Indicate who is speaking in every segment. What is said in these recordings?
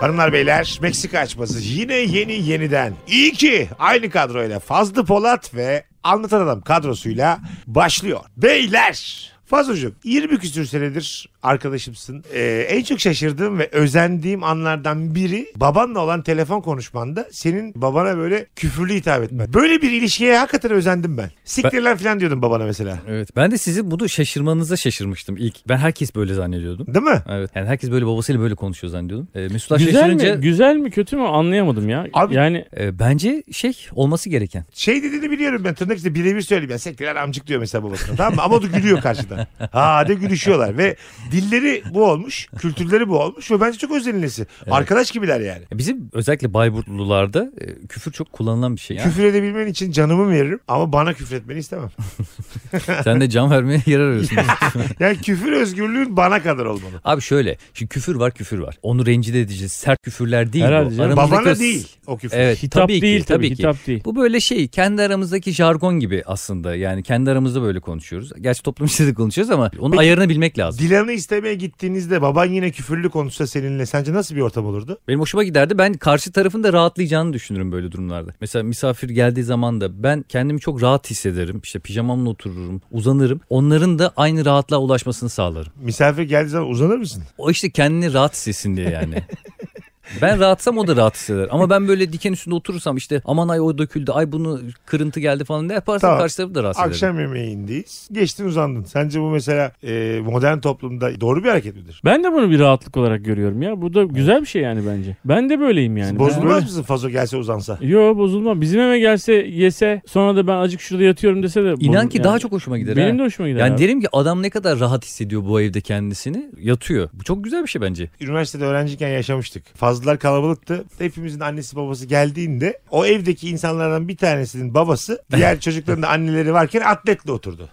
Speaker 1: Hanımlar beyler Meksika açması yine yeni yeniden. İyi ki aynı kadroyla Fazlı Polat ve Anlatan Adam kadrosuyla başlıyor. Beyler Fazlıcığım 20 küsür senedir arkadaşımsın. Ee, en çok şaşırdığım ve özendiğim anlardan biri babanla olan telefon konuşmanda senin babana böyle küfürlü hitap etmen. Böyle bir ilişkiye hakikaten özendim ben. Siktir lan falan diyordum babana mesela.
Speaker 2: Evet. Ben de sizi bunu şaşırmanıza şaşırmıştım ilk. Ben herkes böyle zannediyordum.
Speaker 1: Değil mi?
Speaker 2: Evet. Yani herkes böyle babasıyla böyle konuşuyor zannediyordum. Ee, Mesut Ağa
Speaker 3: Güzel
Speaker 2: şaşırınca
Speaker 3: mi? Güzel mi kötü mü anlayamadım ya.
Speaker 1: Abi-
Speaker 3: yani
Speaker 2: e, bence şey olması gereken.
Speaker 1: şey dediğini biliyorum ben tırnak içinde birebir söyleyeyim. Yani sekreter amcık diyor mesela babasına tamam mı? Ama o da gülüyor karşıdan. Ha de gülüşüyorlar ve dilleri bu olmuş, kültürleri bu olmuş ve bence çok özenilesi. Arkadaş gibiler yani.
Speaker 2: Ya Bizim özellikle Bayburtlularda e, küfür çok kullanılan bir şey. Ya.
Speaker 1: Küfür edebilmen için canımı veririm ama bana küfür etmeni istemem.
Speaker 2: Sen de can vermeye yer arıyorsun.
Speaker 1: Yani küfür özgürlüğün bana kadar olmalı.
Speaker 2: Abi şöyle. Şimdi küfür var küfür var. Onu rencide edeceğiz. Sert küfürler değil
Speaker 3: Herhalde
Speaker 2: bu.
Speaker 3: canım.
Speaker 2: Aramızdaki
Speaker 1: Babana
Speaker 2: o-
Speaker 1: değil o küfür.
Speaker 2: Evet
Speaker 3: hitap
Speaker 2: tabii ki,
Speaker 3: değil tabii,
Speaker 2: tabii ki.
Speaker 3: hitap değil.
Speaker 2: Bu böyle şey kendi aramızdaki jargon gibi aslında. Yani kendi aramızda böyle konuşuyoruz. Gerçi toplum içinde de konuşuyoruz ama onun
Speaker 1: Peki-
Speaker 2: ayarını bilmek lazım.
Speaker 1: Dilan'ı istemeye gittiğinizde baban yine küfürlü konuşsa seninle sence nasıl bir ortam olurdu?
Speaker 2: Benim hoşuma giderdi. Ben karşı tarafın da rahatlayacağını düşünürüm böyle durumlarda. Mesela misafir geldiği zaman da ben kendimi çok rahat hissederim. İşte pijamamla otururum, uzanırım. Onların da aynı rahatlığa ulaşmasını sağlarım.
Speaker 1: Misafir geldiği zaman uzanır mısın?
Speaker 2: O işte kendini rahat hissetsin diye yani. Ben rahatsam o da rahat hisseder. Ama ben böyle diken üstünde oturursam işte aman ay o döküldü, ay bunu kırıntı geldi falan ne yaparsam
Speaker 1: Tamam.
Speaker 2: karşı tarafı da rahatsız ederim.
Speaker 1: Akşam yemeğindeyiz. Geçtin uzandın. Sence bu mesela e, modern toplumda doğru bir hareket midir?
Speaker 3: Ben de bunu bir rahatlık olarak görüyorum ya. Bu da güzel bir şey yani bence. Ben de böyleyim
Speaker 2: Hani
Speaker 3: yani. Ben
Speaker 1: Bozulmaz
Speaker 3: böyle-
Speaker 1: mısın fazo gelse uzansa?
Speaker 3: Yo bozulmam. Bizim eve gelse yese sonra da ben acık şurada yatıyorum dese de.
Speaker 2: İnan
Speaker 3: bozul-
Speaker 2: ki
Speaker 3: yani
Speaker 2: daha çok hoşuma gider.
Speaker 3: Benim
Speaker 2: ha.
Speaker 3: de hoşuma gider.
Speaker 2: yani
Speaker 3: abi.
Speaker 2: derim ki adam ne kadar rahat hissediyor bu evde kendisini. Yatıyor. Bu çok güzel bir şey bence.
Speaker 1: Üniversitede öğrenciyken yaşamıştık. Fazlalar kalabalıktı. Hepimizin annesi babası geldiğinde o evdeki insanlardan bir tanesinin babası diğer çocukların da anneleri varken atletle oturdu.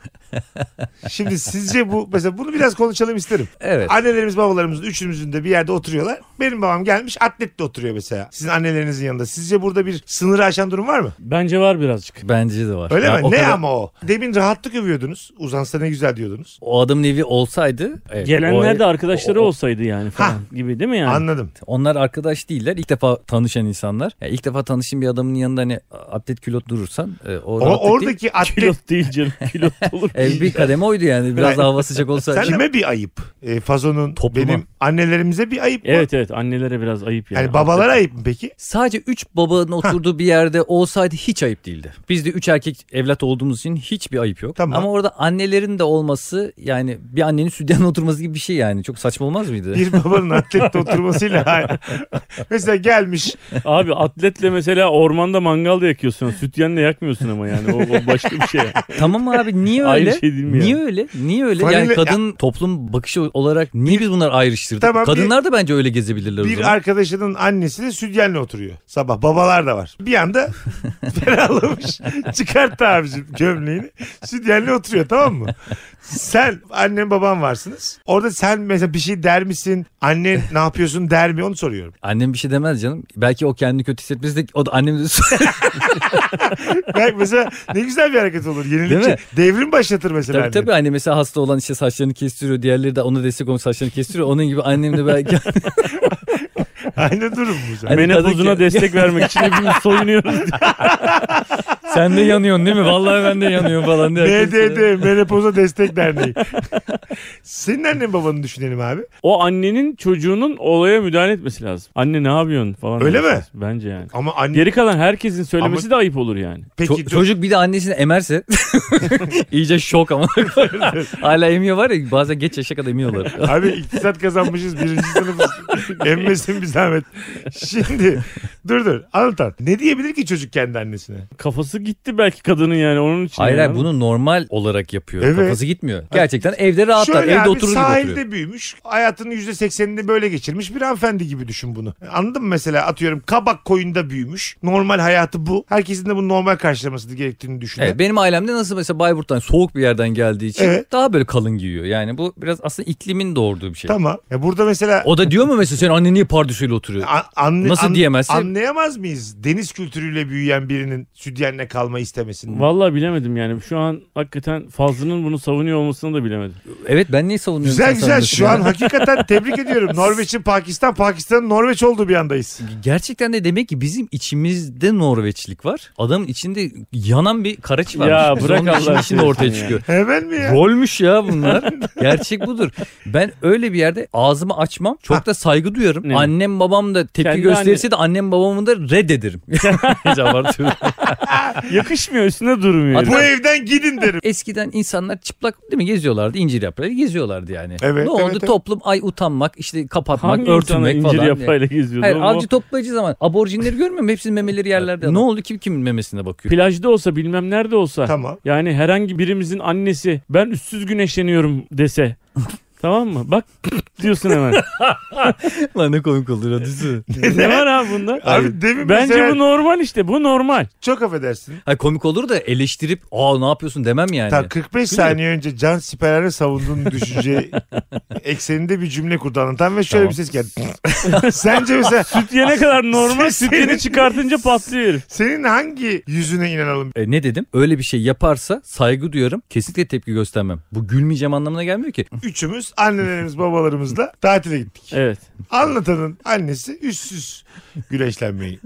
Speaker 1: Şimdi sizce bu mesela bunu biraz konuşalım isterim.
Speaker 2: Evet.
Speaker 1: Annelerimiz babalarımız üçümüzün de bir yerde oturuyorlar. Benim babam gelmiş atletle oturuyor mesela. Sizin annelerinizin yanında. Sizce burada bir sınırı aşan durum var mı?
Speaker 3: Bence var birazcık.
Speaker 2: Bence de var.
Speaker 1: Öyle
Speaker 2: Ya
Speaker 1: mi?
Speaker 2: o
Speaker 1: Ne
Speaker 2: kadar-
Speaker 1: ama o? Demin rahatlık övüyordunuz. Uzansa ne güzel diyordunuz.
Speaker 2: O adamın evi olsaydı. evet, o ev-
Speaker 3: Gelenler de arkadaşları
Speaker 2: o- o-
Speaker 3: olsaydı yani falan gibi değil mi yani?
Speaker 1: Anladım.
Speaker 2: Onlar arkadaş değiller. İlk defa tanışan insanlar. Yani ilk defa tanıştığın bir adamın yanında hani atlet külot durursan. e, o
Speaker 1: O,
Speaker 2: rahatlık değil.
Speaker 1: oradaki atlet
Speaker 3: Pilot değil canım. Pilot olur.
Speaker 2: Ev bir kademe oydu yani. Biraz daha hava sıcak olsaydı.
Speaker 1: Sen kime bir ayıp? E, fazonun
Speaker 2: Topluma.
Speaker 1: benim annelerimize bir ayıp mı?
Speaker 3: evet evet annelere biraz ayıp yani.
Speaker 1: Yani babalara ayıp mı peki?
Speaker 2: Sadece 3 babanın oturduğu bir yerde olsaydı hiç ayıp değildi. Biz de 3 erkek evlat olduğumuz için hiçbir ayıp yok.
Speaker 1: Tamam.
Speaker 2: Ama orada annelerin de olması yani bir annenin sütyen oturması gibi bir şey yani. Çok saçma olmaz mıydı?
Speaker 1: Bir babanın atlette oturmasıyla mesela gelmiş
Speaker 3: Abi atletle mesela ormanda mangal da yakıyorsun. Sütyenle yakmıyorsun ama yani. O, o başka bir şey. yani.
Speaker 2: tamam abi niye
Speaker 3: Aynı
Speaker 2: öyle?
Speaker 3: şey değil mi ya?
Speaker 2: niye öyle? Niye öyle?
Speaker 1: Fanile-
Speaker 2: Yani kadın toplum bakışı olarak niye biz bunları ayrıştırdık?
Speaker 1: Tamam,
Speaker 2: Kadınlar da bence öyle gezebilirler o
Speaker 1: bir
Speaker 2: zaman.
Speaker 1: arkadaşının annesi de sütyenle oturuyor. Sabah babalar da var. Bir anda ferahlamış. Çıkarttı abicim gömleğini. Sütyenle oturuyor tamam mı? Sen annen baban varsınız. Orada sen mesela bir şey der misin? Annen ne yapıyorsun der mi? Onu soruyorum.
Speaker 2: Annem bir şey demez canım. Belki o kendini kötü hissetmesi de o da annem de
Speaker 1: Belki mesela ne güzel bir hareket olur.
Speaker 2: Değil mi?
Speaker 1: Yenilikçi. Devrim başlatır mesela
Speaker 2: Tabii
Speaker 1: annen.
Speaker 2: tabii anne mesela hasta olan işte saçlarını kestiriyor. Diğerleri de ona destek olmuş saçlarını kestiriyor. Onun gibi annem de belki
Speaker 1: Aynı durum bu. zaten.
Speaker 2: Hani
Speaker 3: Menopozuna
Speaker 2: kadın-
Speaker 3: destek vermek için hepimiz soyunuyoruz.
Speaker 2: sen de yanıyorsun değil mi? Vallahi ben de yanıyorum falan diye.
Speaker 1: MDD Menopoza Destek Derneği. Senin annen babanı düşünelim abi.
Speaker 3: O annenin çocuğunun olaya müdahale etmesi lazım. Anne ne yapıyorsun falan.
Speaker 1: Öyle
Speaker 3: demesi
Speaker 1: mi?
Speaker 3: lazım. Bence yani.
Speaker 1: Ama anne
Speaker 3: Geri kalan herkesin söylemesi de ayıp olur yani.
Speaker 1: peki
Speaker 2: Ço-
Speaker 1: do-
Speaker 2: çocuk bir de annesini emerse iyice şok ama. Hala emiyor var ya bazen geç yaşa kadar emiyorlar.
Speaker 1: abi iktisat kazanmışız birinci sınıfız. Emmesin bir zahmet. Şimdi dur dur anlatan. Ne diyebilir ki çocuk kendi annesine?
Speaker 3: Kafası gitti belki kadının yani onun için.
Speaker 2: Hayır
Speaker 3: yani.
Speaker 2: hayır bunu normal olarak yapıyor.
Speaker 1: Evet.
Speaker 2: Kafası gitmiyor. Gerçekten evde rahatlar.
Speaker 1: Şöyle
Speaker 2: evde
Speaker 1: abi
Speaker 2: oturur gibi
Speaker 1: sahilde
Speaker 2: oturuyor.
Speaker 1: büyümüş. Hayatının %80'ini böyle geçirmiş bir hanımefendi gibi düşün bunu. Anladın mı mesela atıyorum kabak koyunda büyümüş. Normal hayatı bu. Herkesin de bunu normal karşılaması gerektiğini düşünüyor.
Speaker 2: Evet, benim ailemde nasıl mesela Bayburt'tan soğuk bir yerden geldiği için
Speaker 1: Evet.
Speaker 2: daha böyle kalın giyiyor. Yani bu biraz aslında iklimin doğurduğu bir şey.
Speaker 1: Tamam. Ya burada mesela
Speaker 2: O da diyor mu mesela sen anne niye pardüsüyle oturuyor?
Speaker 1: A- anne-
Speaker 2: Nasıl
Speaker 1: an-
Speaker 2: diyemezsin?
Speaker 1: anlayamaz mıyız deniz kültürüyle büyüyen birinin sütyenle kalma istemesini?
Speaker 3: Vallahi bilemedim yani. Şu an hakikaten Fazlı'nın bunu savunuyor olmasını da bilemedim.
Speaker 2: Evet ben niye savunuyorum?
Speaker 1: Güzel
Speaker 2: sen
Speaker 1: güzel
Speaker 2: sanıyorsun
Speaker 1: şu
Speaker 2: ya?
Speaker 1: an hakikaten tebrik ediyorum. Norveç'in Pakistan, Pakistan'ın Norveç olduğu bir andayız.
Speaker 2: Gerçekten de demek ki bizim içimizde Norveçlik var. Adamın içinde yanan bir karaç var.
Speaker 3: Ya bırak Allah
Speaker 2: içinde
Speaker 3: aşkına
Speaker 2: ortaya
Speaker 3: ya.
Speaker 2: çıkıyor.
Speaker 1: Hemen mi ya?
Speaker 2: Rolmüş ya bunlar. Gerçek budur. Ben öyle bir yerde ağzımı açmam. Çok da saygı duyarım.
Speaker 3: Ne?
Speaker 2: Annem babam da tepki
Speaker 3: Kendi
Speaker 2: gösterirse de annem babamı da reddederim. Hiç abartıyorum.
Speaker 3: Yakışmıyor üstüne durmuyor.
Speaker 2: Hatta-
Speaker 1: Bu evden gidin derim.
Speaker 2: Eskiden insanlar çıplak değil mi geziyorlardı. incir yaprağıyla geziyorlardı yani.
Speaker 1: Evet,
Speaker 2: ne oldu?
Speaker 1: evet, evet.
Speaker 2: Toplum ay utanmak, işte kapatmak,
Speaker 3: Hangi insana
Speaker 2: örtünmek
Speaker 3: incir
Speaker 2: falan.
Speaker 3: yapayla geziyordu?
Speaker 2: Hayır
Speaker 3: Ama
Speaker 2: avcı toplayıcı zaman aborjinleri görmüyor musun? Hepsinin memeleri yerlerde. ne oldu? Kim kimin memesine bakıyor?
Speaker 3: Plajda olsa bilmem nerede olsa.
Speaker 1: Tamam.
Speaker 3: Yani herhangi birimizin annesi ben üstsüz güneşleniyorum dese. tamam mı? Bak diyorsun hemen.
Speaker 2: Lan ne komik olur hadisi.
Speaker 3: ne var abi bunda?
Speaker 1: Abi demin
Speaker 3: Bence
Speaker 1: mesela
Speaker 3: bu normal işte. Bu normal.
Speaker 1: çok affedersin.
Speaker 2: Hayır, komik olur da eleştirip aa ne yapıyorsun demem yani.
Speaker 1: Ta 45 saniye önce Can Siperer'e savunduğun düşünce ekseninde bir cümle kurdu anlatan ve şöyle
Speaker 2: Tamam.
Speaker 1: bir ses geldi. Sence mesela
Speaker 3: Sütyene kadar
Speaker 1: Senin-
Speaker 3: normal. Sütyeni çıkartınca patlıyor herif.
Speaker 1: senin hangi yüzüne inanalım?
Speaker 2: E, ne dedim? Öyle bir şey yaparsa saygı duyarım. Kesinlikle tepki göstermem. Bu gülmeyeceğim anlamına gelmiyor ki.
Speaker 1: Üçümüz annelerimiz babalarımızla tatile gittik.
Speaker 3: Evet.
Speaker 1: Anlatanın annesi üstsüz güreşlenmeyi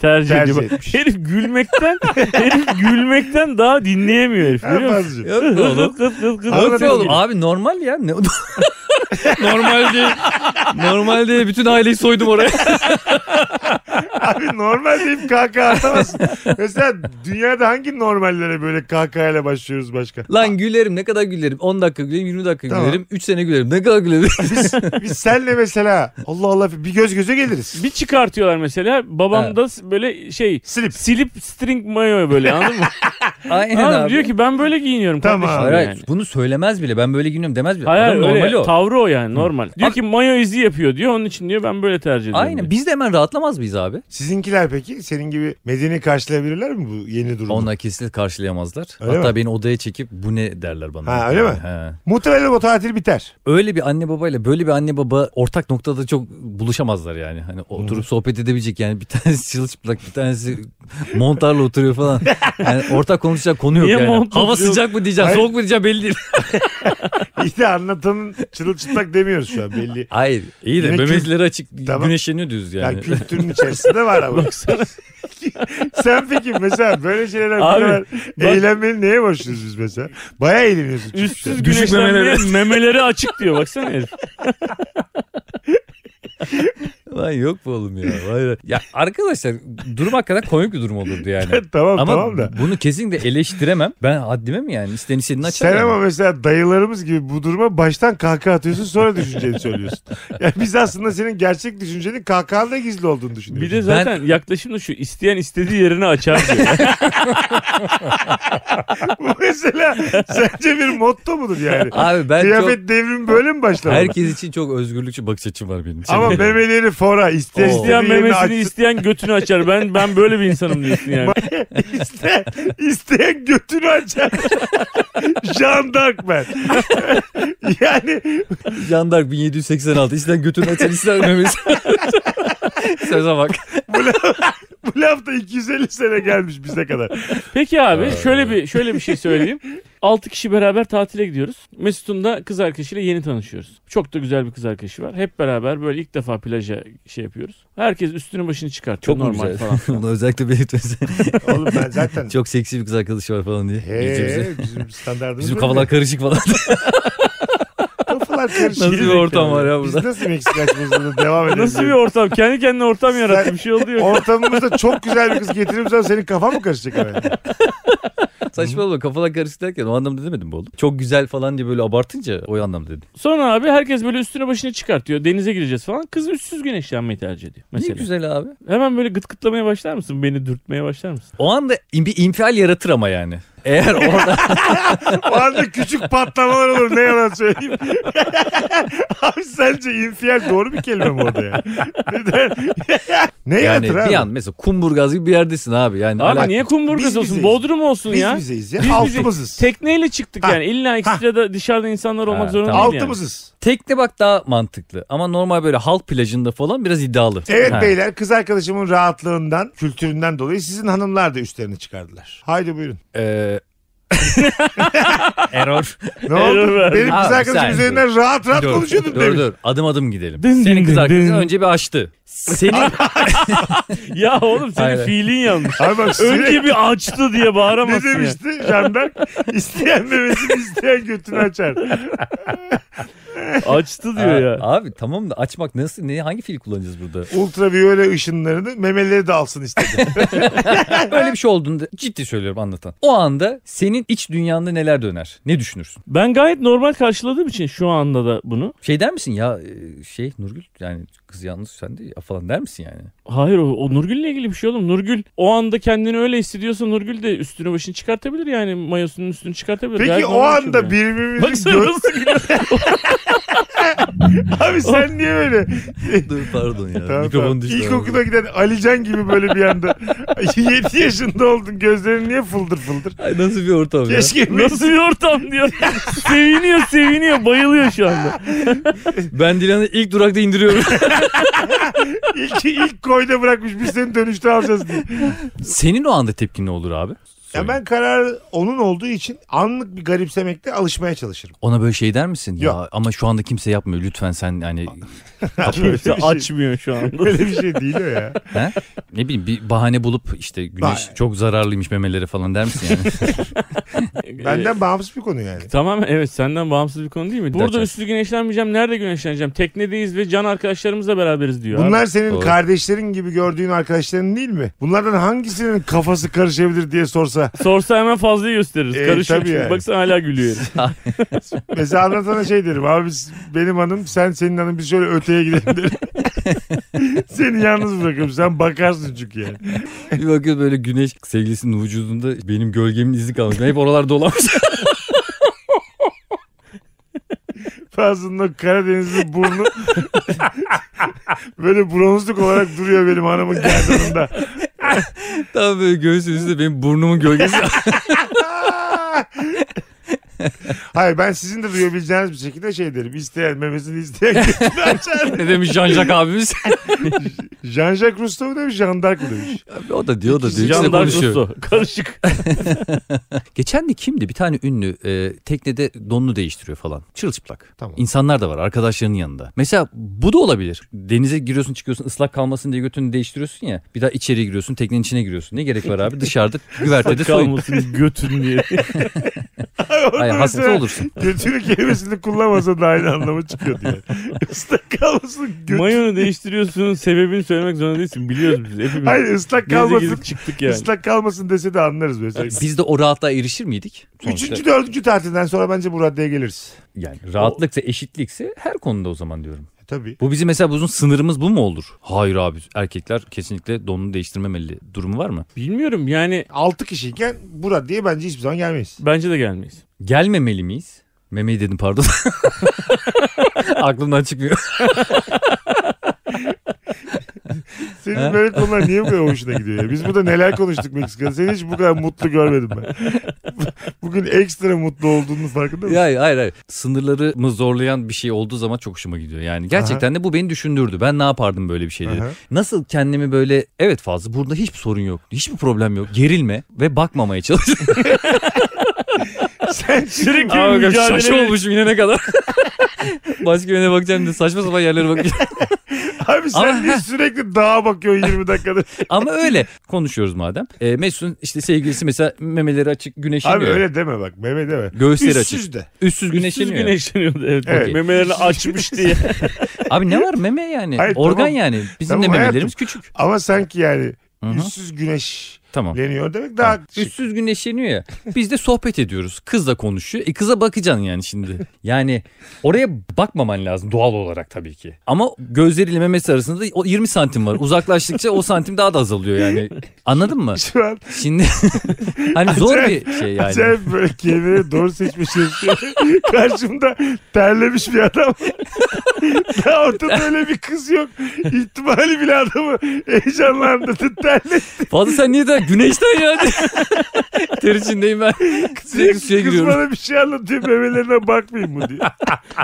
Speaker 3: Tercih,
Speaker 1: tercih
Speaker 3: ediyor.
Speaker 1: etmiş.
Speaker 3: Herif gülmekten herif gülmekten daha dinleyemiyor herif biliyor musun?
Speaker 1: Erman'cığım.
Speaker 2: Yok be oğlum.
Speaker 3: Kıt kıt kıt
Speaker 2: Yok
Speaker 3: kıt.
Speaker 2: be
Speaker 1: Anladım.
Speaker 2: oğlum. Abi normal ya. Ne... normal diye. Normal diye bütün aileyi soydum oraya.
Speaker 1: Abi normal deyip kahkaha atamazsın. Mesela dünyada hangi normallere böyle kahkahayla başlıyoruz başka?
Speaker 2: Lan gülerim ne kadar gülerim. 10 dakika gülerim 20 dakika
Speaker 1: Tamam.
Speaker 2: gülerim. 3 sene gülerim. Ne kadar gülerim.
Speaker 1: Biz, biz senle mesela Allah Allah bir göz göze geliriz.
Speaker 3: Bir çıkartıyorlar mesela. Babam
Speaker 2: Evet.
Speaker 3: da s- böyle şey
Speaker 1: Slip.
Speaker 3: silip string mayo böyle anladın mı?
Speaker 2: Aynen
Speaker 3: Anladın mı?
Speaker 2: abi.
Speaker 3: Diyor ki ben böyle giyiniyorum
Speaker 1: Tamam.
Speaker 3: kardeşim.
Speaker 2: Hayır, hayır.
Speaker 3: yani.
Speaker 2: bunu söylemez bile. Ben böyle giyiniyorum demez bile.
Speaker 3: Hayır
Speaker 2: Adam normal
Speaker 3: öyle
Speaker 2: o.
Speaker 3: tavrı o yani normal. Diyor
Speaker 2: Abi-
Speaker 3: ki mayo izi yapıyor diyor onun için diyor ben böyle tercih ediyorum.
Speaker 2: Aynen.
Speaker 3: diyor.
Speaker 2: Biz de hemen rahatlamaz mıyız abi?
Speaker 1: Sizinkiler peki senin gibi medeni karşılayabilirler mi bu yeni durumu?
Speaker 2: Onlar kesinlikle karşılayamazlar.
Speaker 1: Öyle
Speaker 2: Hatta
Speaker 1: mi?
Speaker 2: beni odaya çekip bu ne derler bana.
Speaker 1: Ha, öyle mi?
Speaker 2: He.
Speaker 1: Muhtemelen o tatil biter.
Speaker 2: Öyle bir anne babayla böyle bir anne baba ortak noktada çok buluşamazlar yani. Hani oturup sohbet edebilecek yani bir tanesi çılçıplak bir tanesi montarla oturuyor falan. Yani ortak konuşacak konu yok
Speaker 3: Niye
Speaker 2: yani.
Speaker 3: montu
Speaker 2: Hava
Speaker 3: yok?
Speaker 2: sıcak mı diyeceğim,
Speaker 1: Hayır.
Speaker 2: soğuk mu diyeceğim belli değil.
Speaker 1: İyi de anlatanın çırılçıplak demiyoruz şu an belli.
Speaker 2: Hayır, iyi de
Speaker 1: Yine kü-
Speaker 2: memezleri açık
Speaker 1: Tamam.
Speaker 2: güneşleniyor düz
Speaker 1: Yani,
Speaker 2: yani.
Speaker 1: kültürün içerisinde var ama. Sen peki mesela böyle şeylerden
Speaker 3: Abi,
Speaker 1: beraber eğlenmeni neye başlıyoruz biz mesela? Baya eğleniyorsun. çünkü sen.
Speaker 3: Üstsüz
Speaker 2: Düşük
Speaker 3: güneşlenmeye
Speaker 2: memeleri.
Speaker 3: memeleri açık diyor baksana herif.
Speaker 2: Lan yok bu oğlum ya. Vay be. Ya arkadaşlar durum hakikaten komik bir durum olurdu yani.
Speaker 1: tamam
Speaker 2: Ama
Speaker 1: tamam da.
Speaker 2: bunu kesinlikle eleştiremem. Ben haddime mi yani? İsteyen istediğini açar.
Speaker 1: Sen
Speaker 2: yani.
Speaker 1: ama mesela dayılarımız gibi bu duruma baştan kahkaha atıyorsun sonra düşünceni söylüyorsun. Yani biz aslında senin gerçek düşüncenin kahkahanda gizli olduğunu
Speaker 3: Bir
Speaker 1: düşünüyoruz.
Speaker 3: de zaten yaklaşım da şu isteyen istediği yerine açar diyor.
Speaker 1: Bu mesela sence bir motto mudur yani?
Speaker 2: Abi ben çok...
Speaker 1: Kıyafet devrimi böyle mi başladı?
Speaker 2: Herkes için çok özgürlükçü bakış açım var benim.
Speaker 1: Ama
Speaker 2: Senin de.
Speaker 1: memeleri fora ister
Speaker 2: Oo.
Speaker 1: isteyen
Speaker 3: isteyen
Speaker 1: memesini
Speaker 3: memesini
Speaker 1: açsın.
Speaker 3: isteyen götünü açar. Ben ben böyle bir insanım diyorsun yani.
Speaker 1: İste, isteyen götünü açar. Jean Dark ben. yani
Speaker 2: Jandark 1786. İsten götünü açar ister memesi. Söze bak.
Speaker 1: bu lafta 250 sene gelmiş bize kadar.
Speaker 3: Peki abi
Speaker 2: Ee.
Speaker 3: şöyle bir şöyle bir şey söyleyeyim. 6 kişi beraber tatile gidiyoruz. Mesut'un da kız arkadaşıyla yeni tanışıyoruz. Çok da güzel bir kız arkadaşı var. Hep beraber böyle ilk defa plaja şey yapıyoruz. Herkes üstünü başını çıkartıyor
Speaker 2: Çok mu
Speaker 3: normal
Speaker 2: güzel?
Speaker 3: falan.
Speaker 2: Bunu özellikle belirtmesi.
Speaker 1: Oğlum ben zaten
Speaker 2: çok seksi bir kız arkadaşı var falan diye. Gece bize.
Speaker 1: He, bizim standartımız
Speaker 2: Bizim
Speaker 1: böyle.
Speaker 2: kafalar karışık falan.
Speaker 1: kafalar karışık.
Speaker 2: Nasıl bir ortam var ya
Speaker 1: Biz
Speaker 2: burada?
Speaker 1: nasıl Meksika açmamızda devam edelim?
Speaker 3: Nasıl bir ortam? Kendi kendine ortam yarattı. Bir şey oldu yok.
Speaker 1: Ortamımızda çok güzel bir kız getirip sonra senin kafan mı karışacak abi?
Speaker 2: Saçmalama kafalar karışık derken o anlamda demedim bu oğlum. Çok güzel falan diye böyle abartınca o anlamda dedim.
Speaker 3: Sonra abi herkes böyle üstünü başını çıkartıyor. Denize gireceğiz falan. Kız üstsüz güneşlenmeyi tercih ediyor mesela.
Speaker 2: Ne güzel abi.
Speaker 3: Hemen böyle gıt gıtlamaya başlar mısın? Beni dürtmeye başlar mısın?
Speaker 2: O anda in- bir infial yaratır ama yani. Eğer orada
Speaker 1: O anda küçük patlamalar olur ne yalan söyleyeyim. abi sence infial doğru bir kelime mi orada ya? Neden? ne
Speaker 2: yani
Speaker 1: yani, abi?
Speaker 2: bir an mesela kumburgaz gibi bir yerdesin abi. Yani
Speaker 3: Abi
Speaker 2: alak-
Speaker 3: niye kumburgaz
Speaker 1: biz
Speaker 3: olsun?
Speaker 1: bizeyiz.
Speaker 3: Bodrum olsun
Speaker 1: Biz
Speaker 3: ya.
Speaker 1: bizeyiz ya.
Speaker 3: Biz bizeyiz.
Speaker 1: altımızız.
Speaker 3: Tekneyle çıktık
Speaker 1: Ha.
Speaker 3: yani. İlla ekstra da dışarıda insanlar olmak
Speaker 2: Ha,
Speaker 3: zorunda
Speaker 2: tamam.
Speaker 3: değil yani.
Speaker 1: altımızız.
Speaker 2: Tekne bak daha mantıklı ama normal böyle halk plajında falan biraz iddialı.
Speaker 1: Evet
Speaker 2: Ha.
Speaker 1: beyler kız arkadaşımın rahatlığından, kültüründen dolayı sizin hanımlar da üstlerini çıkardılar. Haydi buyurun.
Speaker 2: Ee, Error.
Speaker 1: Ne oldu?
Speaker 3: Error.
Speaker 1: Benim
Speaker 2: Aa,
Speaker 1: kız
Speaker 2: bir
Speaker 1: arkadaşım
Speaker 2: saniye.
Speaker 1: üzerinden rahat rahat konuşuyordun
Speaker 2: dur,
Speaker 1: demin.
Speaker 2: dur. Adım adım gidelim.
Speaker 3: Dın
Speaker 2: Senin
Speaker 3: dın
Speaker 2: kız
Speaker 3: dın
Speaker 2: arkadaşın
Speaker 3: dın.
Speaker 2: önce bir açtı. Senin
Speaker 3: ya oğlum senin
Speaker 2: Aynen.
Speaker 3: fiilin yanlış.
Speaker 1: Ay bak
Speaker 3: Önce
Speaker 1: Önce
Speaker 3: bir açtı diye
Speaker 1: ne
Speaker 3: bağıramazsın ya.
Speaker 1: demişti Jandark? İsteyen memesini isteyen götünü açar.
Speaker 3: Açtı diyor ya.
Speaker 2: Abi tamam da açmak nasıl ne hangi fil kullanacağız burada?
Speaker 1: Ultraviyole ışınlarını memeleri de alsın istedi.
Speaker 2: Böyle bir şey olduğunda ciddi söylüyorum anlatan. O anda senin iç dünyanda neler döner? Ne düşünürsün?
Speaker 3: Ben gayet normal karşıladığım için şu anda da bunu.
Speaker 2: Şey der misin ya e, şey Nurgül yani kız yalnız sen de ya falan der misin yani?
Speaker 3: Hayır o, o Nurgül'le ilgili bir şey oğlum. Nurgül o anda kendini öyle hissediyorsa Nurgül de üstünü başını çıkartabilir yani. Mayosunun üstünü çıkartabilir. Gayet
Speaker 1: Peki o
Speaker 3: normal bir şey bu
Speaker 1: anda
Speaker 3: yani.
Speaker 1: birbirimizin
Speaker 3: Baksana
Speaker 1: gö-
Speaker 3: nasıl gülüyor.
Speaker 1: Abi sen niye böyle?
Speaker 2: Dur pardon ya.
Speaker 1: Tamam, tamam.
Speaker 2: Mikrofon düştü.
Speaker 1: İlkokula giden Alican gibi böyle bir anda 7 yaşında oldun gözlerin niye fıldır fıldır?
Speaker 2: Ay, nasıl bir ortam ya?
Speaker 1: Keşke
Speaker 3: Nasıl bir ortam diyor. seviniyor seviniyor bayılıyor şu anda.
Speaker 2: Ben Dilan'ı ilk durakta indiriyorum.
Speaker 1: ilk, ilk koyda bırakmış biz seni dönüşte alacağız diye.
Speaker 2: Senin o anda tepkin ne olur abi?
Speaker 1: Ya ben karar onun olduğu için anlık bir garipsemekte alışmaya çalışırım.
Speaker 2: Ona böyle şey der misin?
Speaker 1: Yok.
Speaker 2: Ya ama şu anda kimse yapmıyor. Lütfen sen yani
Speaker 1: Böyle bir şey,
Speaker 3: Açmıyor şu anda.
Speaker 1: böyle bir şey değil o ya.
Speaker 2: he? ne bileyim bir bahane bulup işte güneş
Speaker 1: Bah-
Speaker 2: çok zararlıymış memelere falan der misin yani?
Speaker 1: Benden bağımsız bir konu yani.
Speaker 3: Tamam evet senden bağımsız bir konu değil mi?
Speaker 2: Bir
Speaker 3: Burada
Speaker 2: dakika.
Speaker 3: üstü güneşlenmeyeceğim. Nerede güneşleneceğim? Teknedeyiz ve can arkadaşlarımızla beraberiz diyor. abi.
Speaker 1: Bunlar senin
Speaker 2: Doğru.
Speaker 1: kardeşlerin gibi gördüğün arkadaşların değil mi? Bunlardan hangisinin kafası karışabilir diye sorsa.
Speaker 3: Sorsa hemen fazlayı gösteririz.
Speaker 1: E,
Speaker 3: Karışıyor.
Speaker 1: tabii yani.
Speaker 3: Baksana hala gülüyor. herif.
Speaker 1: Mesela anlatana şey derim. Abi biz- benim hanım sen senin hanım biz şöyle öteye gidelim derim. Seni yalnız bırakırım. Sen bakarsın çünkü yani.
Speaker 2: bir bakıyor böyle güneş sevgilisinin vücudunda benim gölgemin izi kalmış. Ben hep oralar dolanmış.
Speaker 1: Fazlının o Karadenizli burnu böyle bronzluk olarak duruyor benim hanımın gerdanında.
Speaker 2: Tam böyle göğsünün üstünde benim burnumun gölgesi.
Speaker 1: Hayır ben sizin de duyabileceğiniz bir şekilde şey derim. İsteyen memesini isteyen götünü açar.
Speaker 2: ne demiş Jean-Jacques abimiz?
Speaker 1: Jean-Jacques Rousseau mu demiş, Jean d'Arc mı demiş.
Speaker 2: Abi o da diyor o da diyor. İkisi de
Speaker 3: Can
Speaker 2: konuşuyor.
Speaker 3: Darkusu. Karışık.
Speaker 2: Geçen de kimdi? Bir tane ünlü e, teknede donunu değiştiriyor falan. Çırılçıplak.
Speaker 1: Tamam.
Speaker 2: İnsanlar da var arkadaşlarının yanında. Mesela bu da olabilir. Denize giriyorsun çıkıyorsun ıslak kalmasın diye götünü değiştiriyorsun ya. Bir daha içeriye giriyorsun teknenin içine giriyorsun. Ne gerek var abi dışarıda güvertede soyun.
Speaker 3: Kalmasın götün diye.
Speaker 2: Hayır hasta olursun.
Speaker 1: Götünü kelimesini kullanmasa da aynı anlama çıkıyor diye. Islak kalmasın götü.
Speaker 3: Mayonu değiştiriyorsun. Sebebini söylemek zorunda değilsin. Biliyoruz biz hepimiz.
Speaker 1: Hayır ıslak
Speaker 3: Denize
Speaker 1: kalmasın.
Speaker 3: girdik çıktık yani.
Speaker 1: Islak kalmasın dese de anlarız mesela.
Speaker 2: Biz de o rahatlığa erişir miydik? Sonuçta
Speaker 1: Üçüncü, dördüncü tatilden sonra bence bu raddeye geliriz.
Speaker 2: yani rahatlıksa eşitlikse her konuda o zaman diyorum.
Speaker 1: E, tabii.
Speaker 2: Bu bizim mesela bizim sınırımız bu mu olur? Hayır abi erkekler kesinlikle donunu değiştirmemeli durumu var mı?
Speaker 3: Bilmiyorum yani
Speaker 1: Altı kişiyken bu raddeye bence hiçbir zaman gelmeyiz.
Speaker 3: bence de gelmeyiz.
Speaker 2: Gelmemeli miyiz? Memeyi dedim pardon. Aklımdan çıkmıyor.
Speaker 1: Senin böyle konular niye bu kadar hoşuna gidiyor ya? Biz burada neler konuştuk Meksika'da. Seni hiç bu kadar mutlu görmedim ben. Bugün ekstra mutlu olduğunun farkında mısın?
Speaker 2: hayır hayır hayır. Sınırlarımı zorlayan bir şey olduğu zaman çok hoşuma gidiyor. Yani gerçekten de bu beni düşündürdü. Ben ne yapardım böyle bir şeyleri?
Speaker 1: Aha.
Speaker 2: Nasıl kendimi böyle evet fazla burada hiçbir sorun yok. Hiçbir problem yok. Gerilme ve bakmamaya çalış.
Speaker 1: Sen
Speaker 3: Sürekli
Speaker 2: Abi
Speaker 3: bir
Speaker 2: bakalım şaşı
Speaker 3: mücadele.
Speaker 2: olmuşum yine ne kadar. Başka yöne bakacağım diye saçma sapan yerlere bakacağım.
Speaker 1: Abi sen
Speaker 2: Ama-
Speaker 1: niye sürekli dağa bakıyorsun 20 dakikada?
Speaker 2: Ama öyle konuşuyoruz madem. E, Mesut'un işte sevgilisi mesela memeleri açık güneşleniyor.
Speaker 1: Abi öyle deme bak. Meme deme.
Speaker 2: Göğüsleri açık.
Speaker 1: Üstsüz de.
Speaker 2: Üstsüz
Speaker 3: Güneşleniyor.
Speaker 2: güneşleniyor.
Speaker 3: güneşleniyordu evet.
Speaker 1: Evet.
Speaker 3: Okey. Memelerini açmış diye.
Speaker 2: Abi ne var meme yani?
Speaker 1: Hayır,
Speaker 2: Organ
Speaker 1: tamam.
Speaker 2: yani. Bizim
Speaker 1: Tamam
Speaker 2: de
Speaker 1: hayatım.
Speaker 2: memelerimiz küçük.
Speaker 1: Ama sanki yani
Speaker 2: Hı hı.
Speaker 1: üstsüz güneşleniyor
Speaker 2: Tamam.
Speaker 1: demek daha şık.
Speaker 2: Üstsüz güneşleniyor ya. Biz de sohbet ediyoruz. Kız da konuşuyor. E kıza bakacaksın yani şimdi. Yani oraya bakmaman lazım doğal olarak tabii ki. Ama gözleriyle memesi arasında o 20 santim var. Uzaklaştıkça o santim daha da azalıyor yani. Anladın mı?
Speaker 1: Şu an
Speaker 2: Şimdi hani zor bir şey yani.
Speaker 1: acayip böyle kelimeleri doğru seçmişiz. Karşımda terlemiş bir adam. Daha ortada öyle bir kız yok. İhtimali bile adamı heyecanlandırdı. Terle
Speaker 2: Fazla sen niye de ya güneşten ya. Ter içindeyim ben. Sürekli suya
Speaker 1: Kız
Speaker 2: giriyorum.
Speaker 1: bana bir şey anlatıyor memelerine bakmayayım mı diyor.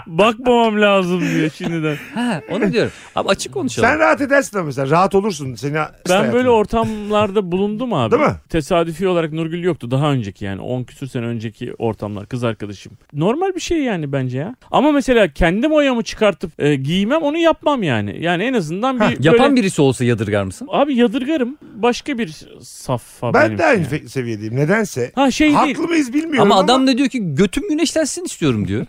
Speaker 3: Bakmamam lazım diyor şimdiden.
Speaker 2: Ha, onu diyorum. Abi açık konuşalım.
Speaker 1: Sen rahat edersin ama mesela rahat olursun. Seni
Speaker 3: Ben böyle ortamlarda bulundum abi.
Speaker 1: Değil mi?
Speaker 3: Tesadüfi olarak Nurgül yoktu. Daha önceki yani 10 küsür sene önceki ortamlar kız arkadaşım. Normal bir şey yani bence ya. Ama mesela kendim oyamı çıkartıp e, giymem onu yapmam yani. Yani en azından bir böyle...
Speaker 2: Yapan birisi olsa yadırgar mısın?
Speaker 3: Abi yadırgarım. Başka bir safha
Speaker 1: Ben
Speaker 3: benim
Speaker 1: de aynı
Speaker 3: yani.
Speaker 1: fe- seviyedeyim. Nedense.
Speaker 3: Ha şey değil.
Speaker 1: Haklı mıyız bilmiyorum
Speaker 2: ama
Speaker 1: ama.
Speaker 2: adam da diyor ki götüm güneşlensin istiyorum diyor.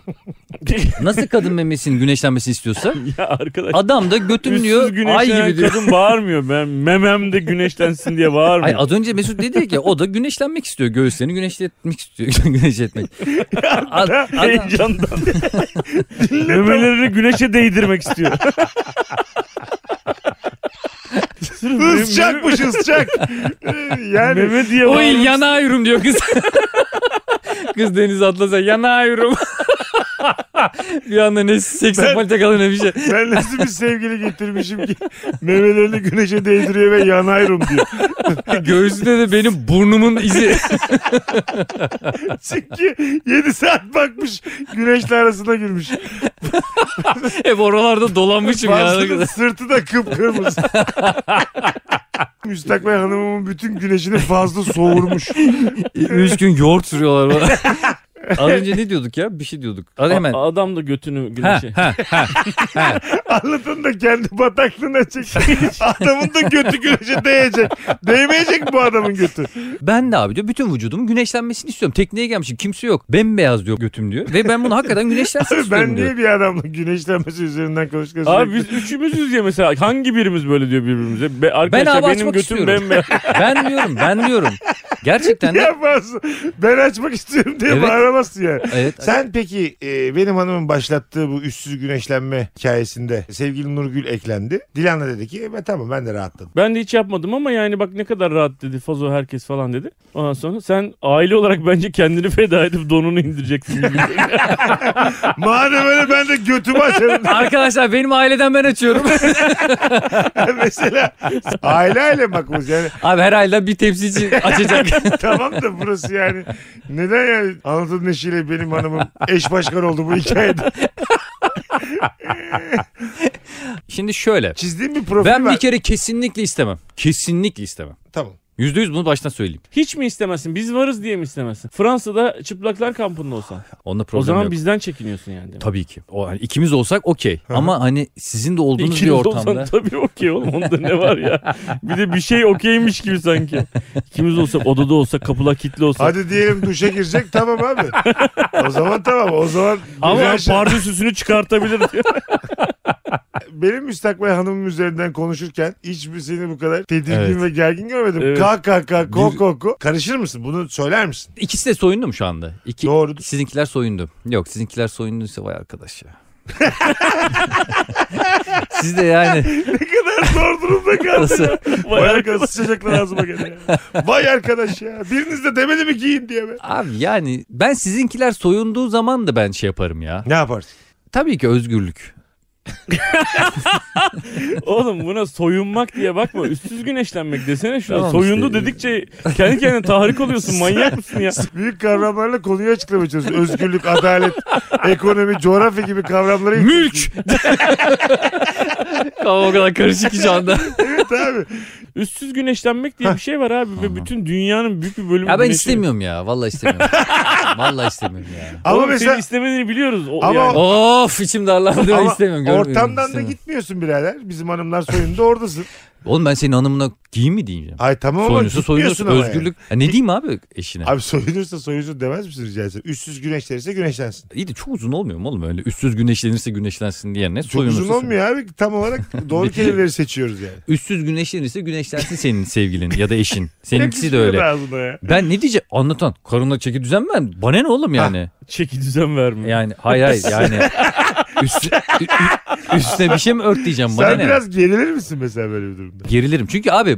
Speaker 2: Nasıl kadın memesinin güneşlenmesini istiyorsa
Speaker 3: ya arkadaş.
Speaker 2: adam da götüm
Speaker 3: Üstsüz
Speaker 2: diyor ay
Speaker 3: güneşlenen
Speaker 2: gibi diyor.
Speaker 3: kadın bağırmıyor. Ben memem de güneşlensin diye
Speaker 2: Ay
Speaker 3: bağırmıyor.
Speaker 2: az önce Mesut dedi ki o da güneşlenmek istiyor. Göğüslerini güneşletmek istiyor. güneşletmek. Ad- adam-
Speaker 3: Heyecandan. Memelerini güneşe değdirmek istiyor. Sırf meme-
Speaker 1: Isçakmış ısçak. Ee, yani.
Speaker 3: Meme diye
Speaker 2: Oy
Speaker 3: bağırmış.
Speaker 2: yana ayırım diyor kız. kız deniz atlasa yana ayırım. bir anda ne seks yapmalı kalın ne bir şey.
Speaker 1: Ben nasıl bir sevgili getirmişim ki memelerini güneşe değdiriyor ve yanayırım diyor.
Speaker 2: Göğsünde de benim burnumun izi.
Speaker 1: Çünkü 7 saat bakmış güneşle arasına girmiş.
Speaker 2: Hep oralarda dolanmışım
Speaker 1: Bazıları
Speaker 2: ya.
Speaker 1: sırtı da kıpkırmızı. Müstakbel hanımımın bütün güneşini fazla soğurmuş.
Speaker 2: Üç gün yoğurt sürüyorlar bana. Az önce ne diyorduk ya? Bir şey diyorduk. Hadi hemen.
Speaker 3: A- adam da götünü
Speaker 2: şey.
Speaker 3: güneşe.
Speaker 1: Anlatan da kendi bataklığına çekmiş. Adamın da götü güneşe değecek. Değmeyecek mi bu adamın götü?
Speaker 2: Ben de abi diyor bütün vücudumun güneşlenmesini istiyorum. Tekneye gelmişim kimse yok. Bembeyaz diyor götüm diyor. Ve ben bunu hakikaten güneşlensin
Speaker 1: Abi
Speaker 2: istiyorum
Speaker 1: ben
Speaker 2: diyor.
Speaker 1: niye bir adamla güneşlenmesi üzerinden konuşuyorsun?
Speaker 3: Abi biz üçümüzüz ya mesela hangi birimiz böyle diyor birbirimize. Be, arkadaşlar
Speaker 2: hava
Speaker 3: benim
Speaker 2: açmak
Speaker 3: götüm
Speaker 2: istiyorum.
Speaker 3: bembeyaz.
Speaker 2: Ben diyorum ben diyorum. Gerçekten de.
Speaker 1: yapamazsın. Ben açmak istiyorum diye
Speaker 2: Evet.
Speaker 1: bağıramazsın yani.
Speaker 2: Evet.
Speaker 1: Sen peki e, benim hanımın başlattığı bu üstsüz güneşlenme hikayesinde sevgili Nurgül eklendi. Dilan da dedi ki e, ben tamam ben de rahatladım.
Speaker 3: Ben de hiç yapmadım ama yani bak ne kadar rahat dedi fazo herkes falan dedi. Ondan sonra sen aile olarak bence kendini feda edip donunu indireceksin. gibi.
Speaker 1: Madem öyle ben de götümü açarım.
Speaker 2: Arkadaşlar benim aileden ben açıyorum.
Speaker 1: Mesela aile aile bakmamız yani
Speaker 2: Abi her ayda bir tepsici açacak.
Speaker 1: tamam da burası yani neden yani Anadolu Neşi'yle benim hanımım eş başkan oldu bu hikayede.
Speaker 2: Şimdi şöyle.
Speaker 1: Çizdiğim bir profil
Speaker 2: Ben
Speaker 1: var.
Speaker 2: bir kere kesinlikle istemem. Kesinlikle istemem.
Speaker 1: Tamam.
Speaker 2: Yüzde yüz bunu baştan söyleyeyim.
Speaker 3: Hiç mi istemezsin? Biz varız diye mi istemezsin? Fransa'da çıplaklar kampında olsan.
Speaker 2: Onda
Speaker 3: O
Speaker 2: problem
Speaker 3: zaman
Speaker 2: yok.
Speaker 3: bizden çekiniyorsun yani. Demek.
Speaker 2: Tabii ki. O, hani ikimiz olsak okey. Ama hani sizin de olduğunuz
Speaker 3: İkiniz
Speaker 2: bir
Speaker 3: olsan
Speaker 2: ortamda.
Speaker 3: tabii okey oğlum onda ne var ya. Bir de bir şey okeymiş gibi sanki. İkimiz olsak odada olsak kapılar kilitli olsa.
Speaker 1: Hadi diyelim duşa girecek tamam abi. O zaman tamam o zaman.
Speaker 3: Ama
Speaker 1: güzel şey-
Speaker 3: pardösüsünü çıkartabilir diyor.
Speaker 1: benim müstakbel hanımım üzerinden konuşurken hiçbir seni bu kadar tedirgin
Speaker 2: Evet.
Speaker 1: ve gergin görmedim.
Speaker 3: Evet.
Speaker 1: Kalk kalk kalk ko
Speaker 2: Bir-
Speaker 1: ko ko. Karışır mısın? Bunu söyler misin?
Speaker 2: İkisi de soyundu mu şu anda? İki,
Speaker 1: Doğru.
Speaker 2: Sizinkiler soyundu. Yok sizinkiler soyunduysa vay arkadaş ya. Siz de yani
Speaker 1: Ne kadar zor durumda kaldı.
Speaker 2: nasıl?
Speaker 1: Vay arkadaş sıçacaklar ağzıma geliyor. Vay arkadaş ya. Biriniz de demedi mi giyin diye be.
Speaker 2: Abi yani ben sizinkiler soyunduğu zaman da ben şey yaparım ya.
Speaker 1: Ne yaparsın?
Speaker 2: Tabii ki özgürlük.
Speaker 3: Oğlum buna soyunmak diye bakma. Üstsüz güneşlenmek desene şuna.
Speaker 2: Tamam
Speaker 3: Soyundu
Speaker 2: işte.
Speaker 3: dedikçe kendi kendine tahrik oluyorsun. Manyak mısın ya?
Speaker 1: Büyük kavramlarla konuyu açıklamaya çalışıyorsun. Özgürlük, adalet, ekonomi, coğrafya gibi kavramları.
Speaker 2: Mülk! Ama o kadar karışık ki şu anda.
Speaker 1: Evet abi.
Speaker 3: Üstsüz güneşlenmek diye bir şey var abi. Ve bütün dünyanın büyük bir bölümü
Speaker 2: Ya ben
Speaker 3: güneşleniyor.
Speaker 2: istemiyorum ya. Vallahi istemiyorum. Vallahi istemiyorum ya.
Speaker 1: Ama
Speaker 3: Oğlum
Speaker 1: mesela
Speaker 3: senin istemediğini biliyoruz. O,
Speaker 1: Ama-
Speaker 3: yani.
Speaker 2: Of içim darlandı. Ben
Speaker 1: Ama
Speaker 2: istemiyorum. görmüyorum,
Speaker 1: ortamdan da
Speaker 2: istemiyorum.
Speaker 1: gitmiyorsun birader. Bizim hanımlar soyunda oradasın.
Speaker 2: Oğlum ben senin hanımına giyin mi diyeceğim?
Speaker 1: Ay tamam ama
Speaker 2: Soyunusu soyunusu
Speaker 1: gitmiyorsun ama yani.
Speaker 2: özgürlük. Ya ne diyeyim abi eşine?
Speaker 1: Abi soyunursa soyunsun demez misin rica etsem? Üstsüz güneşlenirse güneşlensin.
Speaker 2: İyi de çok uzun olmuyor mu oğlum öyle? Üstsüz güneşlenirse güneşlensin diyen ne?
Speaker 1: Çok
Speaker 2: Soyunursa
Speaker 1: uzun olmuyor abi. Tam olarak doğru kelimeleri seçiyoruz yani.
Speaker 2: soyun- Üstsüz güneşlenirse güneşlensin senin sevgilin ya da eşin. Seninkisi de
Speaker 1: Yakışmıyor
Speaker 2: öyle.
Speaker 1: ağzına ya.
Speaker 2: Ben ne diyeceğim? Anlatan. Karınla çeki düzen ben. Bana ne oğlum yani?
Speaker 3: Çeki düzen vermiyor.
Speaker 2: Yani hayır hayır yani. Üst, ü- ü- üstüne bir şey mi ört diyeceğim bana
Speaker 1: Sen
Speaker 2: ne?
Speaker 1: biraz gerilir misin mesela böyle bir durumda?
Speaker 2: Gerilirim. Çünkü abi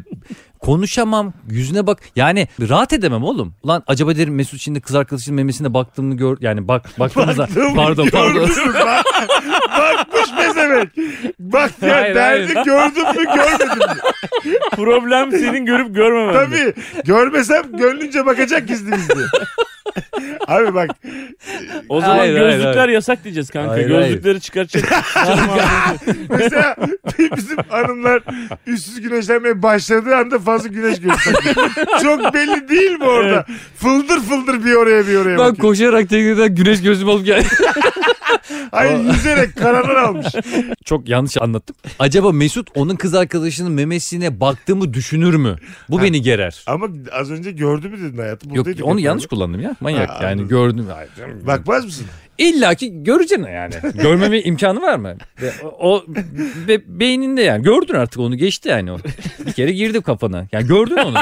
Speaker 2: Konuşamam. Yüzüne bak. Yani rahat edemem oğlum. Lan acaba derim Mesut şimdi kız arkadaşının memesine baktığımı gör. Yani bak baktığımızda.
Speaker 1: Baktım,
Speaker 2: pardon pardon.
Speaker 1: gördüm bak. Bakmış ne demek? Bak ya
Speaker 2: Hayır,
Speaker 1: derdi
Speaker 2: hayır.
Speaker 1: gördüm mü görmedim mi?
Speaker 3: Problem senin görüp görmemen.
Speaker 1: Tabii görmesem gönlünce bakacak gizli gizli. Abi bak
Speaker 3: O zaman
Speaker 2: Hayır, hayır,
Speaker 3: gözlükler
Speaker 2: hayır.
Speaker 3: yasak diyeceğiz kanka.
Speaker 2: Hayır,
Speaker 3: Gözlükleri çıkartacak.
Speaker 1: mesela bizim hanımlar üstsüz güneşlenmeye başladığı anda fazla güneş gösteriyor. Çok belli değil mi orada? Fıldır fıldır bir oraya bir oraya
Speaker 2: Ben
Speaker 1: bakıyor.
Speaker 2: koşarak tekneden güneş gözüm alıp geldim.
Speaker 1: Hayır yüzerek kararlar almış.
Speaker 2: Çok yanlış anlattım. Acaba Mesut onun kız arkadaşının memesine baktığımı düşünür mü? Bu beni gerer.
Speaker 1: Ama az önce gördü mü dedin hayatım?
Speaker 2: Yok
Speaker 1: Buradaydık
Speaker 2: onu
Speaker 1: hep
Speaker 2: yanlış kullandım ya. Manyak
Speaker 1: Ha, anladım.
Speaker 2: yani gördüm. Hayır canım.
Speaker 1: beraber. Bakmaz mısın?
Speaker 2: İlla ki göreceksin yani. Görmeme imkanı var mı? Ve O, o be- beyninde yani. Gördün artık onu geçti yani o. Bir kere girdi kafana. Yani gördün onu.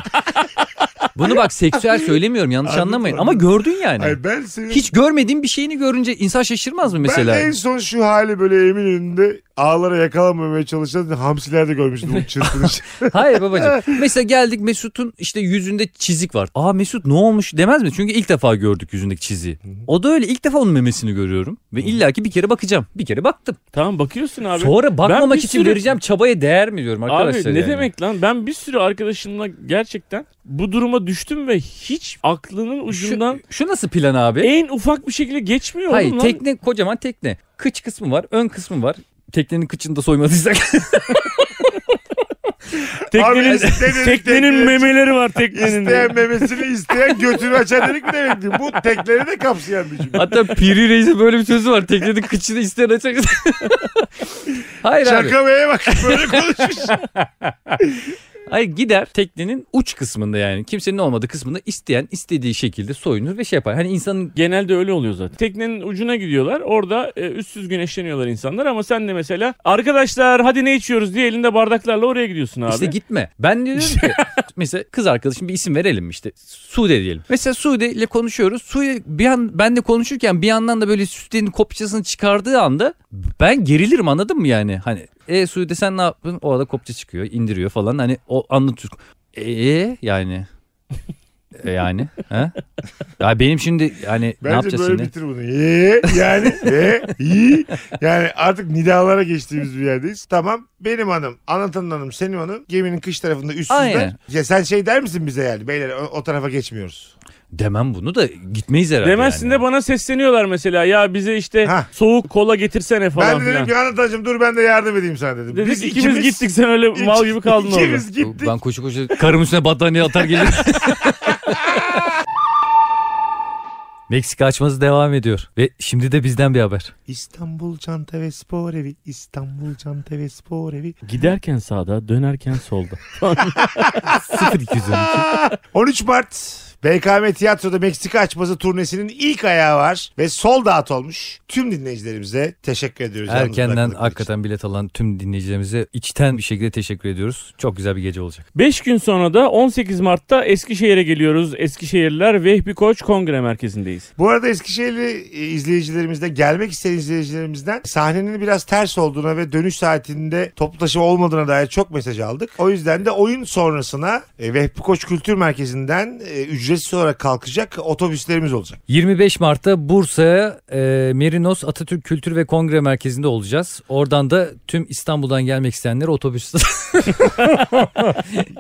Speaker 2: Bunu bak seksüel söylemiyorum yanlış
Speaker 1: Anladım,
Speaker 2: anlamayın.
Speaker 1: anladım.
Speaker 2: Ama gördün yani.
Speaker 1: Hayır ben senin...
Speaker 2: Hiç görmediğin bir şeyini görünce insan şaşırmaz mı mesela?
Speaker 1: Ben en son şu hali böyle emin önünde ağlara yakalanmamaya çalışan hamsilerde görmüştüm bu çırpınış.
Speaker 2: Hayır babacığım. Mesela geldik Mesut'un işte yüzünde çizik var. Aa Mesut ne olmuş demez mi? Çünkü ilk defa gördük yüzündeki çiziği. O da öyle ilk defa onun memesini görüyorum. Ve illaki bir kere bakacağım. Bir kere baktım.
Speaker 3: tamam bakıyorsun abi.
Speaker 2: Sonra
Speaker 3: Ben
Speaker 2: bakmamak
Speaker 3: bir
Speaker 2: için
Speaker 3: sürü-
Speaker 2: vereceğim çabaya değer mi diyorum
Speaker 3: Abi
Speaker 2: arkadaşlar.
Speaker 3: ne
Speaker 2: yani.
Speaker 3: demek lan? Ben bir sürü arkadaşımla gerçekten bu duruma düştüm ve hiç aklının ucundan
Speaker 2: Şu, şu nasıl plan abi?
Speaker 3: en ufak bir şekilde geçmiyor
Speaker 2: Hayır
Speaker 3: oğlum lan.
Speaker 2: tekne kocaman tekne. Kıç kısmı var ön kısmı var. Teknenin kıçını da soymadıysak.
Speaker 3: teknenin
Speaker 1: Abi, teknenin-
Speaker 3: teknenin
Speaker 1: teknenin-
Speaker 3: memeleri var teknenin.
Speaker 1: isteyen memesini isteyen götünü açan dedik ne demekti? Bu tekleri de kapsayan bir cümle.
Speaker 2: Hatta Piri Reis'in böyle bir sözü var. Teknenin kıçını isteyen açacak. Hayır abi.
Speaker 1: Şaka beye bak böyle konuşmuş.
Speaker 2: Hayır gider teknenin uç kısmında yani kimsenin olmadığı kısmında isteyen istediği şekilde soyunur ve şey yapar. Hani insanın
Speaker 3: Genelde öyle oluyor zaten. Teknenin ucuna gidiyorlar. Orada e, üstsüz güneşleniyorlar insanlar ama sen de mesela arkadaşlar hadi ne içiyoruz diye elinde bardaklarla oraya gidiyorsun abi.
Speaker 2: işte gitme. Ben diyorum ki mesela kız arkadaşım bir isim verelim işte Sude diyelim. Mesela Sude ile konuşuyoruz. Sude bir an ben de konuşurken bir yandan da böyle Sude'nin kopçasını çıkardığı anda ben gerilirim anladın mı yani? Hani e Sude sen ne yaptın? O arada kopça çıkıyor indiriyor falan hani o anlatıyor. E yani E, yani ha? Ya benim şimdi hani ne
Speaker 1: Bence
Speaker 2: yapacağız
Speaker 1: böyle
Speaker 2: şimdi?
Speaker 1: bitir bunu. Ye, yani ye, yi. yani artık nidalara geçtiğimiz bir yerdeyiz. Tamam benim hanım, anlatanın hanım, senin hanım geminin kış tarafında üstsüzler.
Speaker 2: Aynen.
Speaker 1: Ya sen şey der misin bize yani beyler o, o tarafa geçmiyoruz.
Speaker 2: Demem bunu da gitmeyiz herhalde.
Speaker 3: Demezsin
Speaker 2: yani.
Speaker 3: de bana sesleniyorlar mesela ya bize işte
Speaker 1: Hah.
Speaker 3: soğuk kola getirsene
Speaker 1: ben
Speaker 3: falan
Speaker 1: de dedim
Speaker 3: filan.
Speaker 1: ki anlatancım dur ben de yardım edeyim sana dedim.
Speaker 3: Dedik ikimiz, gittik sen öyle mal gibi kaldın orada.
Speaker 1: İkimiz gittik.
Speaker 2: Ben koşu koşu karım üstüne battaniye atar gelirim. Meksika açması devam ediyor. Ve şimdi de bizden bir haber.
Speaker 1: İstanbul Çanta ve Spor Evi, İstanbul Çanta ve Spor Evi.
Speaker 3: Giderken sağda dönerken solda.
Speaker 2: 0212.
Speaker 1: 13 Mart BKM Tiyatro'da Meksika açması turnesinin ilk ayağı var ve sol dağıt olmuş. Tüm dinleyicilerimize teşekkür ediyoruz. yalnız
Speaker 2: Erkenden
Speaker 1: bırakmadıkları için.
Speaker 2: hakikaten bilet alan tüm dinleyicilerimize içten bir şekilde teşekkür ediyoruz. Çok güzel bir gece olacak.
Speaker 3: 5 gün sonra da 18 Mart'ta Eskişehir'e geliyoruz. Eskişehirliler Vehbi Koç Kongre Merkezi'ndeyiz.
Speaker 1: Bu arada Eskişehirli e, izleyicilerimizden, gelmek isteyen izleyicilerimizden sahnenin biraz ters olduğuna ve dönüş saatinde toplu taşıma olmadığına dair çok mesaj aldık. O yüzden de oyun sonrasına e, Vehbi Koç Kültür Merkezi'nden e, ücretsiz olarak kalkacak otobüslerimiz olacak.
Speaker 2: 25 Mart'ta Bursa'ya e, Merinos Atatürk Kültür ve Kongre Merkezi'nde olacağız. Oradan da tüm İstanbul'dan gelmek isteyenlere otobüs.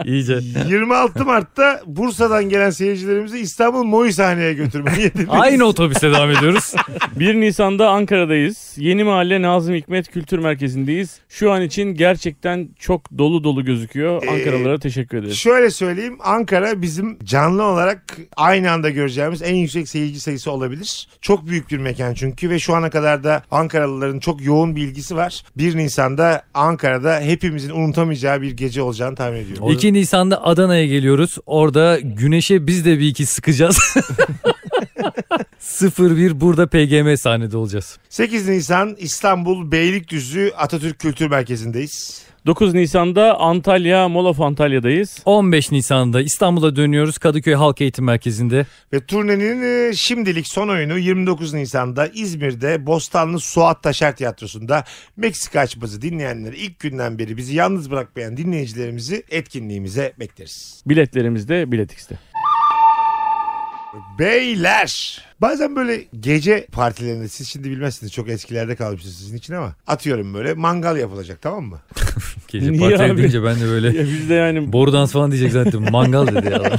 Speaker 2: İyice.
Speaker 1: 26 Mart'ta Bursa'dan gelen seyircilerimizi İstanbul Moy sahneye götürmeye hedefliyoruz.
Speaker 2: Aynı otobüse devam ediyoruz.
Speaker 3: 1 Nisan'da Ankara'dayız. Yeni Mahalle Nazım Hikmet Kültür Merkezi'ndeyiz. Şu an için gerçekten çok dolu dolu gözüküyor.
Speaker 1: Ee,
Speaker 3: Ankaralılara teşekkür ederiz.
Speaker 1: Şöyle söyleyeyim Ankara bizim canlı olarak aynı anda göreceğimiz en yüksek seyirci sayısı olabilir. Çok büyük bir mekan çünkü ve şu ana kadar da Ankaralıların çok yoğun bir ilgisi var. 1 Nisan'da Ankara'da hepimizin unutamayacağı bir gece olacağını tahmin ediyorum.
Speaker 2: 2 Nisan'da Adana'ya geliyoruz. Orada güneşe biz de bir iki sıkacağız. 01 burada PGM sahnede olacağız.
Speaker 1: 8 Nisan İstanbul Beylikdüzü Atatürk Kültür Merkezi'ndeyiz.
Speaker 3: 9 Nisan'da Antalya, Molof Antalya'dayız.
Speaker 2: 15 Nisan'da İstanbul'a dönüyoruz Kadıköy Halk Eğitim Merkezi'nde.
Speaker 1: Ve turnenin e, şimdilik son oyunu 29 Nisan'da İzmir'de Bostanlı Suat Taşer Tiyatrosu'nda Meksika açması dinleyenler ilk günden beri bizi yalnız bırakmayan dinleyicilerimizi etkinliğimize bekleriz.
Speaker 3: Biletlerimiz de Biletix'te.
Speaker 1: Beyler bazen böyle gece partilerinde siz şimdi bilmezsiniz çok eskilerde kalmışsınız sizin için ama atıyorum böyle mangal yapılacak tamam mı?
Speaker 2: Gece
Speaker 3: Niye
Speaker 2: partileri
Speaker 3: abi?
Speaker 2: deyince ben de böyle
Speaker 3: Ya biz de yani
Speaker 2: boru dans falan diyecek zannettim. Mangal dedi ya. adam.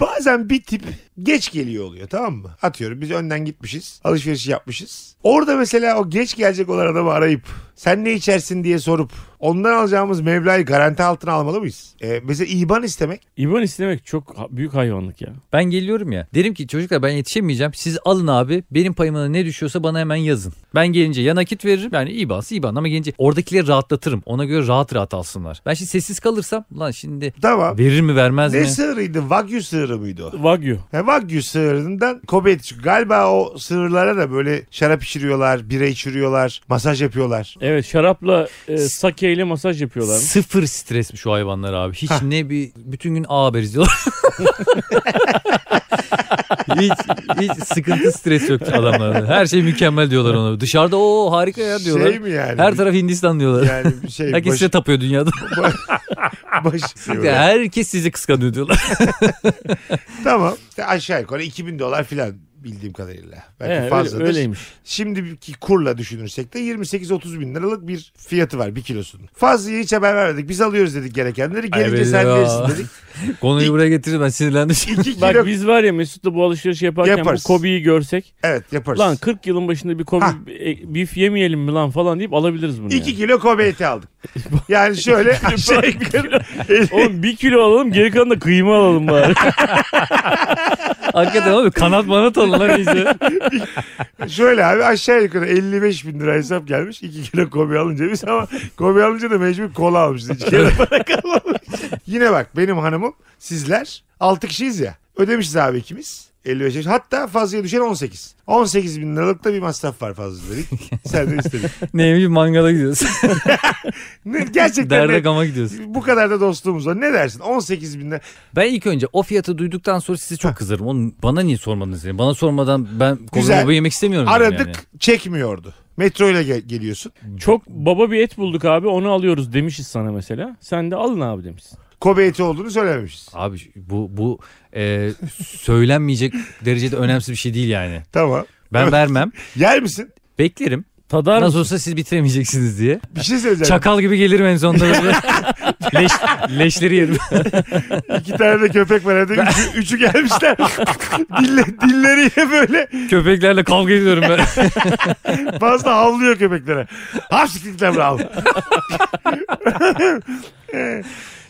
Speaker 1: Bazen bir tip geç geliyor oluyor tamam mı? Atıyorum biz önden gitmişiz. Alışveriş yapmışız. Orada mesela o geç gelecek olan adamı arayıp sen ne içersin diye sorup ondan alacağımız meblağı garanti altına almalı mıyız? Ee, mesela IBAN istemek.
Speaker 3: İban istemek çok ha- büyük hayvanlık ya.
Speaker 2: Ben geliyorum ya. Derim ki çocuklar ben yetişemeyeceğim. Siz alın abi. Benim payıma ne düşüyorsa bana hemen yazın. Ben gelince ya nakit veririm. Yani İBAN'sı İBAN ama gelince oradakileri rahatlatırım. Ona göre rahat rahat alsınlar. Ben şimdi sessiz kalırsam lan şimdi
Speaker 1: Tamam.
Speaker 2: verir mi vermez
Speaker 1: Ne
Speaker 2: mi?
Speaker 1: sığırıydı? Wagyu sığırı mıydı o?
Speaker 3: Wagyu.
Speaker 1: He, Wagyu sığırından Kobe eti çıkıyor. Galiba o sığırlara da böyle şarap içiriyorlar, bira içiriyorlar, masaj yapıyorlar.
Speaker 3: Evet şarapla e, sake ile masaj yapıyorlar.
Speaker 2: Sıfır stresmiş şu hayvanlar abi. Hiç
Speaker 1: Hah.
Speaker 2: ne bir bütün gün A haber izliyorlar. hiç, hiç sıkıntı stres yok adamlarda. Her şey mükemmel diyorlar ona. Dışarıda o harika ya diyorlar.
Speaker 1: Şey mi yani?
Speaker 2: Her taraf Hindistan diyorlar.
Speaker 1: yani bir şey
Speaker 2: Herkes
Speaker 1: baş,
Speaker 2: size tapıyor dünyada.
Speaker 1: baş-
Speaker 2: Herkes sizi kıskanıyor diyorlar.
Speaker 1: Tamam. İşte aşağı yukarı 2000 dolar filan bildiğim kadarıyla. Belki
Speaker 3: He, öyle,
Speaker 1: fazladır.
Speaker 3: öyleymiş.
Speaker 1: Şimdiki kurla düşünürsek de 28-30 bin liralık bir fiyatı var bir kilosunun. Fazlayı hiç haber vermedik. Biz alıyoruz dedik gerekenleri. Gelince
Speaker 2: be
Speaker 1: sen
Speaker 2: ya.
Speaker 1: verirsin dedik.
Speaker 2: Konuyu buraya getirir ben sinirlendim.
Speaker 1: 2 kilo.
Speaker 3: Bak biz var ya Mesut'la bu alışveriş yaparken
Speaker 1: Yaparız.
Speaker 3: bu Kobe'yi görsek.
Speaker 1: Evet yaparız.
Speaker 3: Lan 40 yılın başında bir Kobe
Speaker 1: Ha.
Speaker 3: e, beef yemeyelim mi lan falan deyip alabiliriz bunu
Speaker 1: 2
Speaker 3: yani.
Speaker 1: kilo Kobe eti aldık. Yani şöyle aşağı yukarı.
Speaker 3: Oğlum bir kilo alalım geri kalan da kıyma alalım bari.
Speaker 2: Hakikaten abi kanat manat alın lan iyice.
Speaker 1: Şöyle abi aşağı yukarı 55 bin lira hesap gelmiş. 2 kilo Kobe alınca biz ama Kobe alınca da mecbur kola almışız. Hiç kere para kalmamış. Yine bak benim hanımım sizler 6 kişiyiz ya. Ödemişiz abi ikimiz. 55 yaş. Hatta fazlaya düşen 18. 18 bin liralık da bir masraf var fazla dedik. Sen de istedin.
Speaker 2: Neymiş mangala gidiyorsun.
Speaker 1: Ne, gerçekten
Speaker 2: Derde
Speaker 1: ne,
Speaker 2: gama gidiyorsun.
Speaker 1: bu kadar da dostluğumuz var. Ne dersin? 18 bin lira.
Speaker 2: Ben ilk önce o fiyatı duyduktan sonra sizi çok kızarım. Onu bana niye sormadınız? Yani? Bana sormadan ben
Speaker 1: Güzel.
Speaker 2: kolumu yemek istemiyorum. dedim
Speaker 1: Aradık
Speaker 2: yani.
Speaker 1: çekmiyordu. Metro ile gel- geliyorsun.
Speaker 3: Çok baba bir et bulduk abi onu alıyoruz demişiz sana mesela. Sen de alın abi demişsin.
Speaker 1: Kobe eti olduğunu söylememişiz.
Speaker 2: Abi bu bu e, söylenmeyecek derecede önemsiz bir şey değil yani.
Speaker 1: Tamam.
Speaker 2: Ben vermem.
Speaker 1: Yer misin?
Speaker 2: Beklerim.
Speaker 3: Tadar
Speaker 2: Nasıl
Speaker 3: mısın?
Speaker 2: olsa siz bitiremeyeceksiniz diye.
Speaker 1: Bir şey söyleyeceğim.
Speaker 2: Çakal gibi gelirim en sonunda. böyle. Leş, leşleri yerim.
Speaker 1: İki tane de köpek var evde. Üçü, üçü gelmişler. Dille, dilleriyle böyle
Speaker 2: Köpeklerle kavga ediyorum ben.
Speaker 1: fazla havlıyor köpeklere. Hapsiklikler bravo. Ee,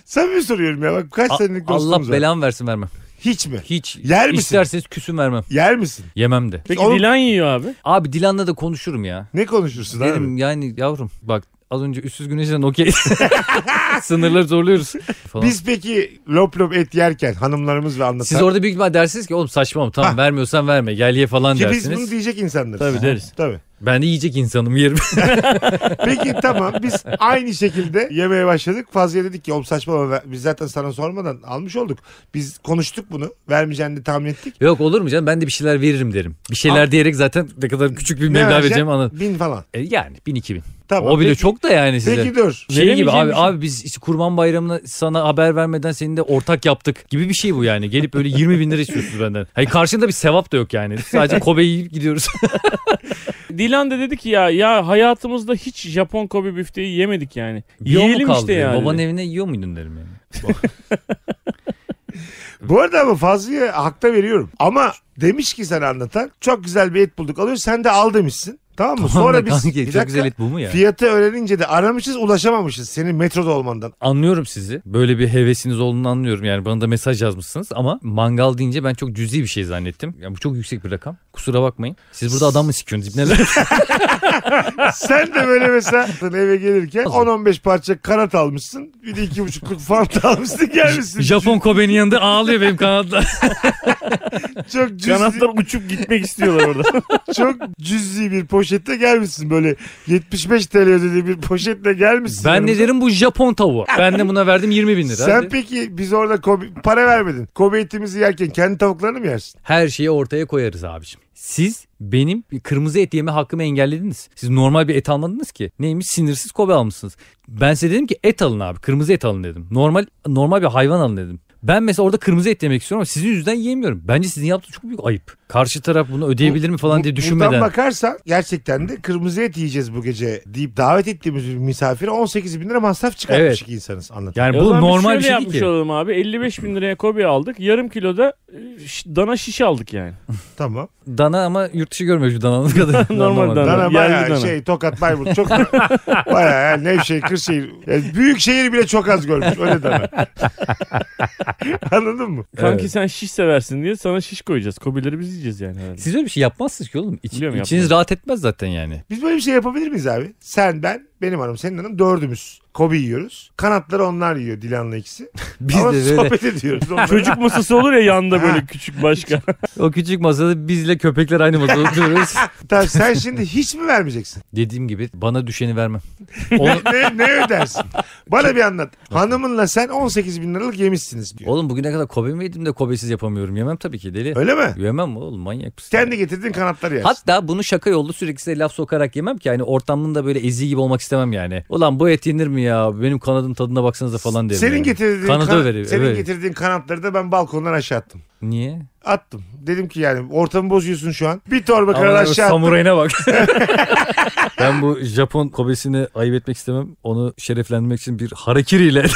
Speaker 1: Samimi soruyorum ya. Bak kaç senelik dostumuz
Speaker 2: Allah
Speaker 1: var.
Speaker 2: belamı versin vermem.
Speaker 1: Hiç mi?
Speaker 2: Hiç.
Speaker 1: Yer misin?
Speaker 2: İsterseniz küsüm vermem.
Speaker 1: Yer misin?
Speaker 2: Yemem de.
Speaker 3: Peki
Speaker 1: Oğlum-
Speaker 3: Dilan yiyor abi.
Speaker 2: Abi Dilan'la da konuşurum ya.
Speaker 1: Ne konuşursun abi?
Speaker 2: Derim yani yavrum bak az önce üstsüz güneşten okey. Sınırları zorluyoruz. Falan.
Speaker 1: Biz peki lop lop et yerken hanımlarımızla anlatan.
Speaker 2: Siz orada büyük ihtimal dersiniz ki oğlum saçma tamam
Speaker 1: Ha.
Speaker 2: vermiyorsan verme gel ye falan
Speaker 1: ki biz bunu
Speaker 2: dersiniz.
Speaker 1: diyecek insanlarız.
Speaker 3: Tabii deriz.
Speaker 1: Tabii.
Speaker 2: Ben de yiyecek insanım yerim.
Speaker 1: Peki tamam biz aynı şekilde yemeye başladık. Fazla dedik ki oğlum saçmalama ver- biz zaten sana sormadan almış olduk. Biz konuştuk bunu. Vermeyeceğini de tahmin ettik.
Speaker 2: Yok olur mu canım ben de bir şeyler veririm derim. Bir şeyler diyerek zaten ne kadar küçük bir meblağ
Speaker 1: vereceksin?
Speaker 2: vereceğimi anladım.
Speaker 1: Bin falan.
Speaker 2: E, yani bin iki bin.
Speaker 1: Tamam.
Speaker 2: o bile
Speaker 1: Peki-
Speaker 2: çok da yani size.
Speaker 1: Peki dur.
Speaker 2: şey gibi
Speaker 3: Veremeyeceğim
Speaker 2: abi
Speaker 3: bir şey.
Speaker 2: abi biz işte kurban bayramına sana haber vermeden seni de ortak yaptık gibi bir şey bu yani. Gelip böyle 20 bin lira istiyorsunuz benden. Hayır karşında bir sevap da yok yani. Sadece Kobe yiyip gidiyoruz.
Speaker 3: Dilan da dedi ki ya ya hayatımızda hiç Japon Kobe büfteyi yemedik yani.
Speaker 2: Yiyor mu
Speaker 3: Yiyelim
Speaker 2: kaldı
Speaker 3: işte
Speaker 2: dedi.
Speaker 3: yani.
Speaker 2: Babanın evine yiyor muydun derim yani.
Speaker 1: Bu arada ama Fazlı'ya hakta veriyorum. Ama demiş ki sana anlatan çok güzel bir et bulduk alıyoruz sen de al demişsin. Tamam mı? Sonra biz
Speaker 2: Kanki,
Speaker 1: bir dakika,
Speaker 2: çok güzel et bu mu ya?
Speaker 1: fiyatı öğrenince de aramışız ulaşamamışız senin metroda olmandan.
Speaker 2: Anlıyorum sizi. Böyle bir hevesiniz olduğunu anlıyorum. Yani bana da mesaj yazmışsınız ama mangal deyince ben çok cüzi bir şey zannettim. Yani bu çok yüksek bir rakam. Kusura bakmayın. Siz burada adam mı sikiyorsunuz? İbneler?
Speaker 1: Sen de böyle mesela eve gelirken 10-15 parça kanat almışsın. Bir de 2,5 fanta almışsın gelmişsin.
Speaker 2: Japon Kobe'nin yanında ağlıyor benim kanatlar.
Speaker 1: Çok cüzi,
Speaker 3: Kanatlar uçup gitmek istiyorlar orada.
Speaker 1: çok cüzi bir poşette gelmişsin. Böyle 75 TL ödediği bir poşetle gelmişsin.
Speaker 2: ben ne
Speaker 1: yanımıza.
Speaker 2: derim bu Japon tavuğu. Ben de buna verdim 20 bin lira.
Speaker 1: Sen
Speaker 2: Hadi.
Speaker 1: peki biz orada Kobe- para vermedin. Kobe etimizi yerken kendi tavuklarını mı yersin?
Speaker 2: Her şeyi ortaya koyarız abicim. Siz benim kırmızı et yeme hakkımı engellediniz. Siz normal bir et almadınız ki. Neymiş sinirsiz Kobe almışsınız. Ben size dedim ki et alın abi kırmızı et alın dedim. Normal normal bir hayvan alın dedim. Ben mesela orada kırmızı et yemek istiyorum ama sizin yüzünden yiyemiyorum. Bence sizin yaptığınız çok büyük ayıp. Karşı taraf bunu ödeyebilir mi falan
Speaker 1: Bu-
Speaker 2: diye
Speaker 1: Buradan
Speaker 2: düşünmeden.
Speaker 1: bakarsan gerçekten de kırmızı et yiyeceğiz bu gece deyip davet ettiğimiz bir misafire 18 bin lira masraf çıkartmış
Speaker 2: Evet.
Speaker 1: iki insanız. Anlatın.
Speaker 2: Yani
Speaker 3: E O
Speaker 2: bu
Speaker 3: zaman biz
Speaker 2: normal bir
Speaker 3: şöyle
Speaker 2: şey değil
Speaker 3: yapmış
Speaker 2: ki.
Speaker 3: olalım abi. 55 bin liraya Kobe aldık. Yarım kiloda e, ş- dana şiş aldık yani.
Speaker 1: Tamam.
Speaker 2: Dana ama yurt dışı görmemiş bir dananın kadar.
Speaker 3: Normal dana.
Speaker 1: Dana
Speaker 3: Yerli
Speaker 1: bayağı
Speaker 3: dana.
Speaker 1: şey Tokat Bayburt çok bayağı yani Nevşehir Kırşehir yani büyük şehir bile çok az görmüş öyle dana. Anladın mı?
Speaker 3: Kanki
Speaker 2: Evet.
Speaker 3: sen şiş seversin diye sana şiş koyacağız. Kobeleri biz yiyeceğiz yani herhalde.
Speaker 2: Siz öyle bir şey yapmazsınız ki oğlum. İç,
Speaker 3: Biliyorum,
Speaker 2: içiniz
Speaker 3: yapmıyorum.
Speaker 2: rahat etmez zaten yani.
Speaker 1: Biz böyle bir şey yapabilir miyiz abi? Sen ben benim hanım senin hanım dördümüz. Kobi yiyoruz. Kanatları onlar yiyor Dilan'la ikisi.
Speaker 2: Biz
Speaker 1: Ama
Speaker 2: de böyle
Speaker 1: sohbet ediyoruz. onlarla.
Speaker 3: Çocuk masası olur ya yanında böyle küçük başka.
Speaker 2: o küçük masada bizle köpekler aynı masada oturuyoruz.
Speaker 1: Tamam, sen şimdi hiç mi vermeyeceksin?
Speaker 2: Dediğim gibi bana düşeni vermem. Oğlum,
Speaker 1: Ne, ne ödersin? Bana bir anlat. Hanımınla sen 18 bin liralık yemişsiniz diyor.
Speaker 2: oğlum bugüne kadar Kobe mi yedim de Kobe'siz yapamıyorum. Yemem tabii ki deli.
Speaker 1: Öyle mi?
Speaker 2: Yemem oğlum manyak mısın?
Speaker 1: Kendi getirdin kanatları yersin.
Speaker 2: Hatta bunu şaka yollu sürekli size laf sokarak yemem ki. Yani ortamında böyle ezi gibi olmak istemem yani. Ulan bu et yenir mi ya? Benim kanadın tadına baksanıza falan derim.
Speaker 1: senin
Speaker 2: yani.
Speaker 1: getirdiğin
Speaker 2: Kanadı
Speaker 1: kan-
Speaker 2: vereyim,
Speaker 1: senin
Speaker 2: evet.
Speaker 1: getirdiğin kanatları da ben balkondan aşağı attım.
Speaker 2: Niye?
Speaker 1: Attım. Dedim ki yani ortamı bozuyorsun şu an. Bir torba
Speaker 2: Aman
Speaker 1: kanat
Speaker 2: abi,
Speaker 1: aşağı attım.
Speaker 2: samurayına bak. ben bu Japon Kobe'sini ayıp etmek istemem. Onu şereflendirmek için bir harekiriyle.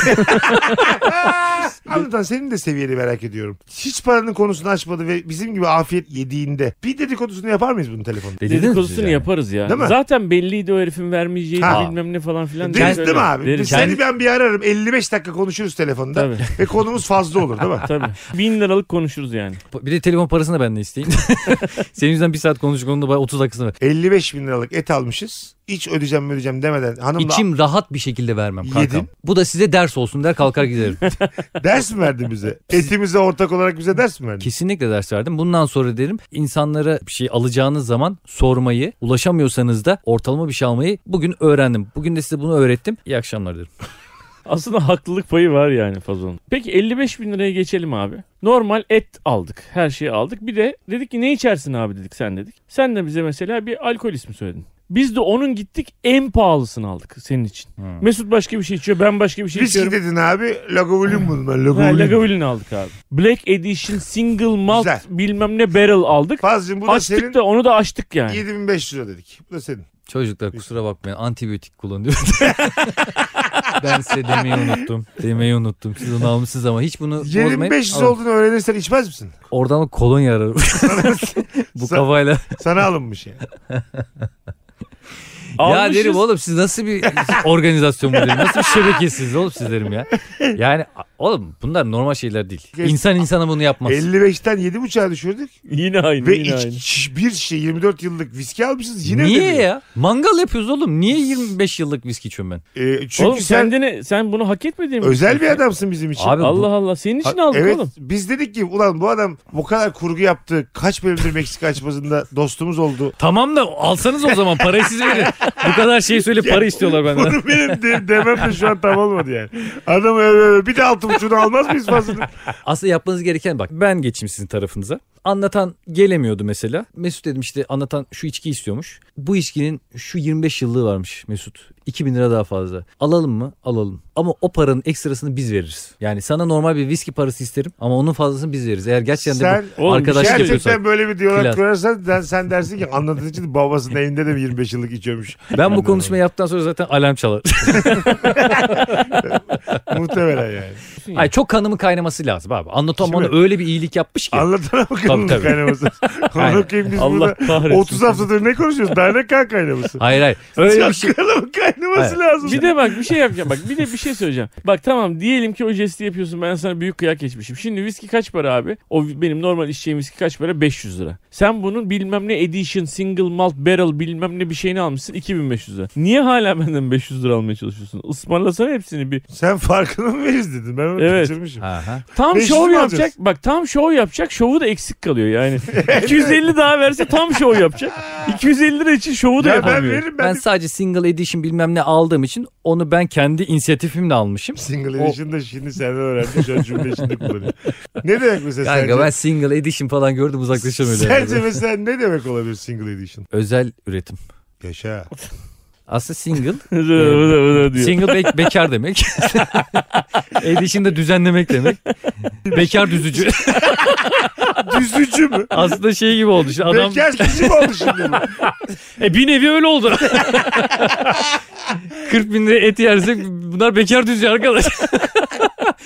Speaker 1: Ah, Anlatan senin de seviyeni merak ediyorum. Hiç paranın konusunu açmadı ve bizim gibi afiyet yediğinde bir dedikodusunu yapar mıyız bunun telefonda?
Speaker 3: Dedikodusunu yaparız ya.
Speaker 1: Değil mi?
Speaker 3: Zaten belliydi o herifin vermeyeceği
Speaker 1: Ha.
Speaker 3: bilmem ne falan filan.
Speaker 1: Deriz
Speaker 3: Öyle.
Speaker 1: değil mi abi?
Speaker 3: Deriz.
Speaker 1: Seni ben bir ararım 55 dakika konuşuruz telefonda
Speaker 3: Tabii.
Speaker 1: ve konumuz fazla olur değil mi?
Speaker 3: Tabii. Bin liralık konuşuruz yani.
Speaker 2: Bir de telefon parasını da benden isteyin. Senin yüzünden bir saat konuştuk onun da bana 30 dakikasını ver.
Speaker 1: 55 bin liralık et almışız. Hiç ödeyeceğim ödeyeceğim demeden hanımla
Speaker 2: İçim rahat bir şekilde vermem kankam.
Speaker 1: Yedim.
Speaker 2: Bu da size ders olsun der kalkar giderim.
Speaker 1: ders mi verdin bize? Etimize ortak olarak bize ders mi verdin?
Speaker 2: Kesinlikle ders verdim. Bundan sonra derim insanlara bir şey alacağınız zaman sormayı, ulaşamıyorsanız da ortalama bir şey almayı bugün öğrendim. Bugün de size bunu öğrettim. İyi akşamlar derim.
Speaker 3: Aslında haklılık payı var yani fazonun. Peki 55 bin liraya geçelim abi. Normal et aldık. Her şeyi aldık. Bir de dedik ki ne içersin abi dedik sen dedik. Sen de bize mesela bir alkol ismi söyledin. Biz de onun gittik en pahalısını aldık senin için. Mesut başka bir şey içiyor ben başka bir şey
Speaker 1: Viski
Speaker 3: içiyorum.
Speaker 1: dedin abi. Lagavulin bunu ben
Speaker 3: Ha,
Speaker 1: Lagavulin.
Speaker 3: Lagavulin aldık abi. Black Edition Single Malt
Speaker 1: Güzel.
Speaker 3: bilmem ne Barrel aldık.
Speaker 1: Fazlım bu da
Speaker 3: açtık
Speaker 1: senin
Speaker 3: da onu da açtık yani.
Speaker 1: 7500 lira dedik. Bu da senin.
Speaker 2: Çocuklar kusura bakmayın antibiyotik kullanıyorum. ben size demeyi unuttum. Demeyi unuttum. Siz onu almışsınız ama hiç bunu bozmayın.
Speaker 1: 7500
Speaker 2: Alın.
Speaker 1: olduğunu öğrenirsen içmez misin?
Speaker 2: Oradan kolonya ararım. Bu
Speaker 1: Sa-
Speaker 2: kafayla.
Speaker 1: Sana alınmış yani.
Speaker 2: Ya
Speaker 3: Almışız.
Speaker 2: derim oğlum siz nasıl bir organizasyon bu derim. Nasıl bir şebekesiniz oğlum siz derim ya. Yani a- oğlum bunlar normal şeyler değil.
Speaker 1: Kes-
Speaker 2: İnsan insana bunu yapmaz.
Speaker 1: 55'ten 7.5'a düşürdük.
Speaker 3: Yine aynı
Speaker 1: Ve
Speaker 3: yine
Speaker 1: iç,
Speaker 3: aynı.
Speaker 1: şiş- bir şey 24 yıllık viski almışsınız yine
Speaker 2: Niye
Speaker 1: ödemiyor.
Speaker 2: ya? Mangal yapıyoruz oğlum. Niye 25 yıllık viski içiyorum ben?
Speaker 1: Ee, çünkü
Speaker 3: oğlum
Speaker 1: sen
Speaker 3: kendini sen bunu hak etmediğin
Speaker 1: özel bir adamsın bizim için.
Speaker 2: Abi bu-
Speaker 3: Allah Allah senin için
Speaker 2: Ha-
Speaker 3: aldık
Speaker 1: Evet
Speaker 3: oğlum.
Speaker 1: biz dedik ki ulan bu adam bu kadar kurgu yaptı. Kaç bölümdür Meksika açmasında dostumuz oldu.
Speaker 2: Tamam da alsanız o zaman parayı siz verin. Bu kadar şey söyle para istiyorlar benden.
Speaker 1: Bunu benim de, demem de şu an tam olmadı yani. Adam öyle öyle bir de altı buçuğunu almaz mıyız fazlasını?
Speaker 2: Aslında yapmanız gereken bak ben geçeyim sizin tarafınıza. Anlatan gelemiyordu mesela. Mesut dedim işte anlatan şu içki istiyormuş. Bu içkinin şu 25 yıllığı varmış Mesut. 2000 lira daha fazla. Alalım mı? Alalım. Ama o paranın ekstrasını biz veririz. Yani sana normal bir viski parası isterim ama onun fazlasını biz veririz. Eğer gerçekten de
Speaker 1: Sen-
Speaker 2: bu
Speaker 3: Oğlum,
Speaker 2: arkadaşlık
Speaker 3: gerçekten
Speaker 2: yapıyorsak.
Speaker 1: Gerçekten böyle bir diyalog
Speaker 2: Plan.
Speaker 1: kurarsan sen, sen dersin ki anladığın için babasının evinde de mi 25 yıllık içiyormuş.
Speaker 2: Ben bu konuşmayı yaptıktan sonra zaten alarm çalar.
Speaker 1: Muhtemelen yani.
Speaker 2: Ay çok kanımın kaynaması lazım abi. Anlatan
Speaker 1: Şimdi-
Speaker 2: bana öyle bir iyilik yapmış ki.
Speaker 1: Anlatana bakalım
Speaker 2: Tabii, tabii.
Speaker 1: kaynaması.
Speaker 2: Aynen.
Speaker 1: Anlatayım biz
Speaker 3: Allah
Speaker 1: burada
Speaker 3: kahretsin.
Speaker 1: 30 haftadır ne konuşuyoruz? Daha ne kan kaynaması?
Speaker 2: Hayır hayır. Öyle bir şey.
Speaker 1: Çakalın kaynaması
Speaker 2: Hayır.
Speaker 1: lazım.
Speaker 3: Bir de bak bir şey yapacağım. Bak bir de bir şey söyleyeceğim. Bak tamam diyelim ki o jesti yapıyorsun. Ben sana büyük kıyak geçmişim. Şimdi viski kaç para abi? O benim normal içeceğim viski kaç para? 500 lira. Sen bunun bilmem ne edition, single malt, barrel bilmem ne bir şeyini almışsın 2500 lira. Niye hala benden 500 lira almaya çalışıyorsun? Ismarlasana hepsini bir.
Speaker 1: Sen farkına mı veririz dedin. Ben onu
Speaker 3: Evet.
Speaker 1: kaçırmışım.
Speaker 2: şey- Aha.
Speaker 3: Tam
Speaker 1: 500
Speaker 3: şov
Speaker 1: mi
Speaker 3: yapacak.
Speaker 1: alacağız?
Speaker 3: Bak tam şov yapacak. Şovu da eksik kalıyor yani. 250 daha verse tam şov yapacak. 250 lira için şovu da
Speaker 1: Ya ben
Speaker 3: yapamıyor.
Speaker 1: veririm. Ben,
Speaker 2: Ben
Speaker 1: de-
Speaker 2: sadece single edition bilmem ne aldığım için onu ben kendi inisiyatifimle almışım.
Speaker 1: Single edition da şimdi senden öğrendim. Şu an cümle içinde kullanıyor. Ne demek mesela
Speaker 2: Kanka
Speaker 1: sence?
Speaker 2: ben single edition falan gördüm uzaklaşamıyorum.
Speaker 1: Sence mesela ne demek olabilir single edition?
Speaker 2: Özel üretim.
Speaker 1: Yaşa.
Speaker 2: Aslında single.
Speaker 3: Vıdı vıdı vıdı diyor.
Speaker 2: single be- bekar demek. edition de düzenlemek demek. Bekar düzücü.
Speaker 1: Düzücü mü?
Speaker 2: Aslında şey gibi oldu. Şu adam
Speaker 1: Bekar kişi mi oldu şimdi? bu?
Speaker 2: E bir nevi öyle oldu. 40 bin lira et yersek bunlar bekar düzce arkadaş.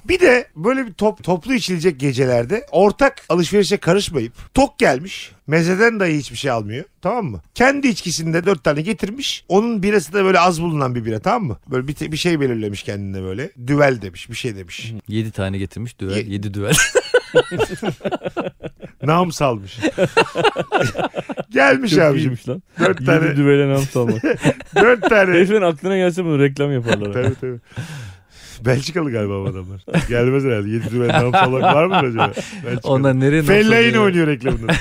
Speaker 1: Bir de böyle bir top, toplu içilecek gecelerde ortak alışverişe karışmayıp tok gelmiş. Mezeden dahi hiçbir şey almıyor. Tamam mı? Kendi içkisinde dört tane getirmiş. Onun birası da böyle az bulunan bir bira tamam mı? Böyle bir, te- bir şey belirlemiş kendine böyle. Düvel demiş bir şey demiş.
Speaker 2: 7 tane getirmiş düvel.
Speaker 1: Ye-
Speaker 2: 7 düvel.
Speaker 1: Nam salmış. gelmiş
Speaker 3: Çok
Speaker 1: Şey abicim.
Speaker 3: iyiymiş lan.
Speaker 1: Dört
Speaker 3: Yedi
Speaker 1: tane.
Speaker 3: düvele nam salmak.
Speaker 1: dört tane.
Speaker 3: Heriflerin aklına gelse bunu reklam yaparlar.
Speaker 1: tabii tabii. Belçikalı galiba bu adamlar. Gelmez herhalde. Yedi düvel nam falan var mı acaba? Belçikalı.
Speaker 2: Onlar nereye nasıl
Speaker 1: Fellaini
Speaker 2: oluyor?
Speaker 1: oynuyor reklamında.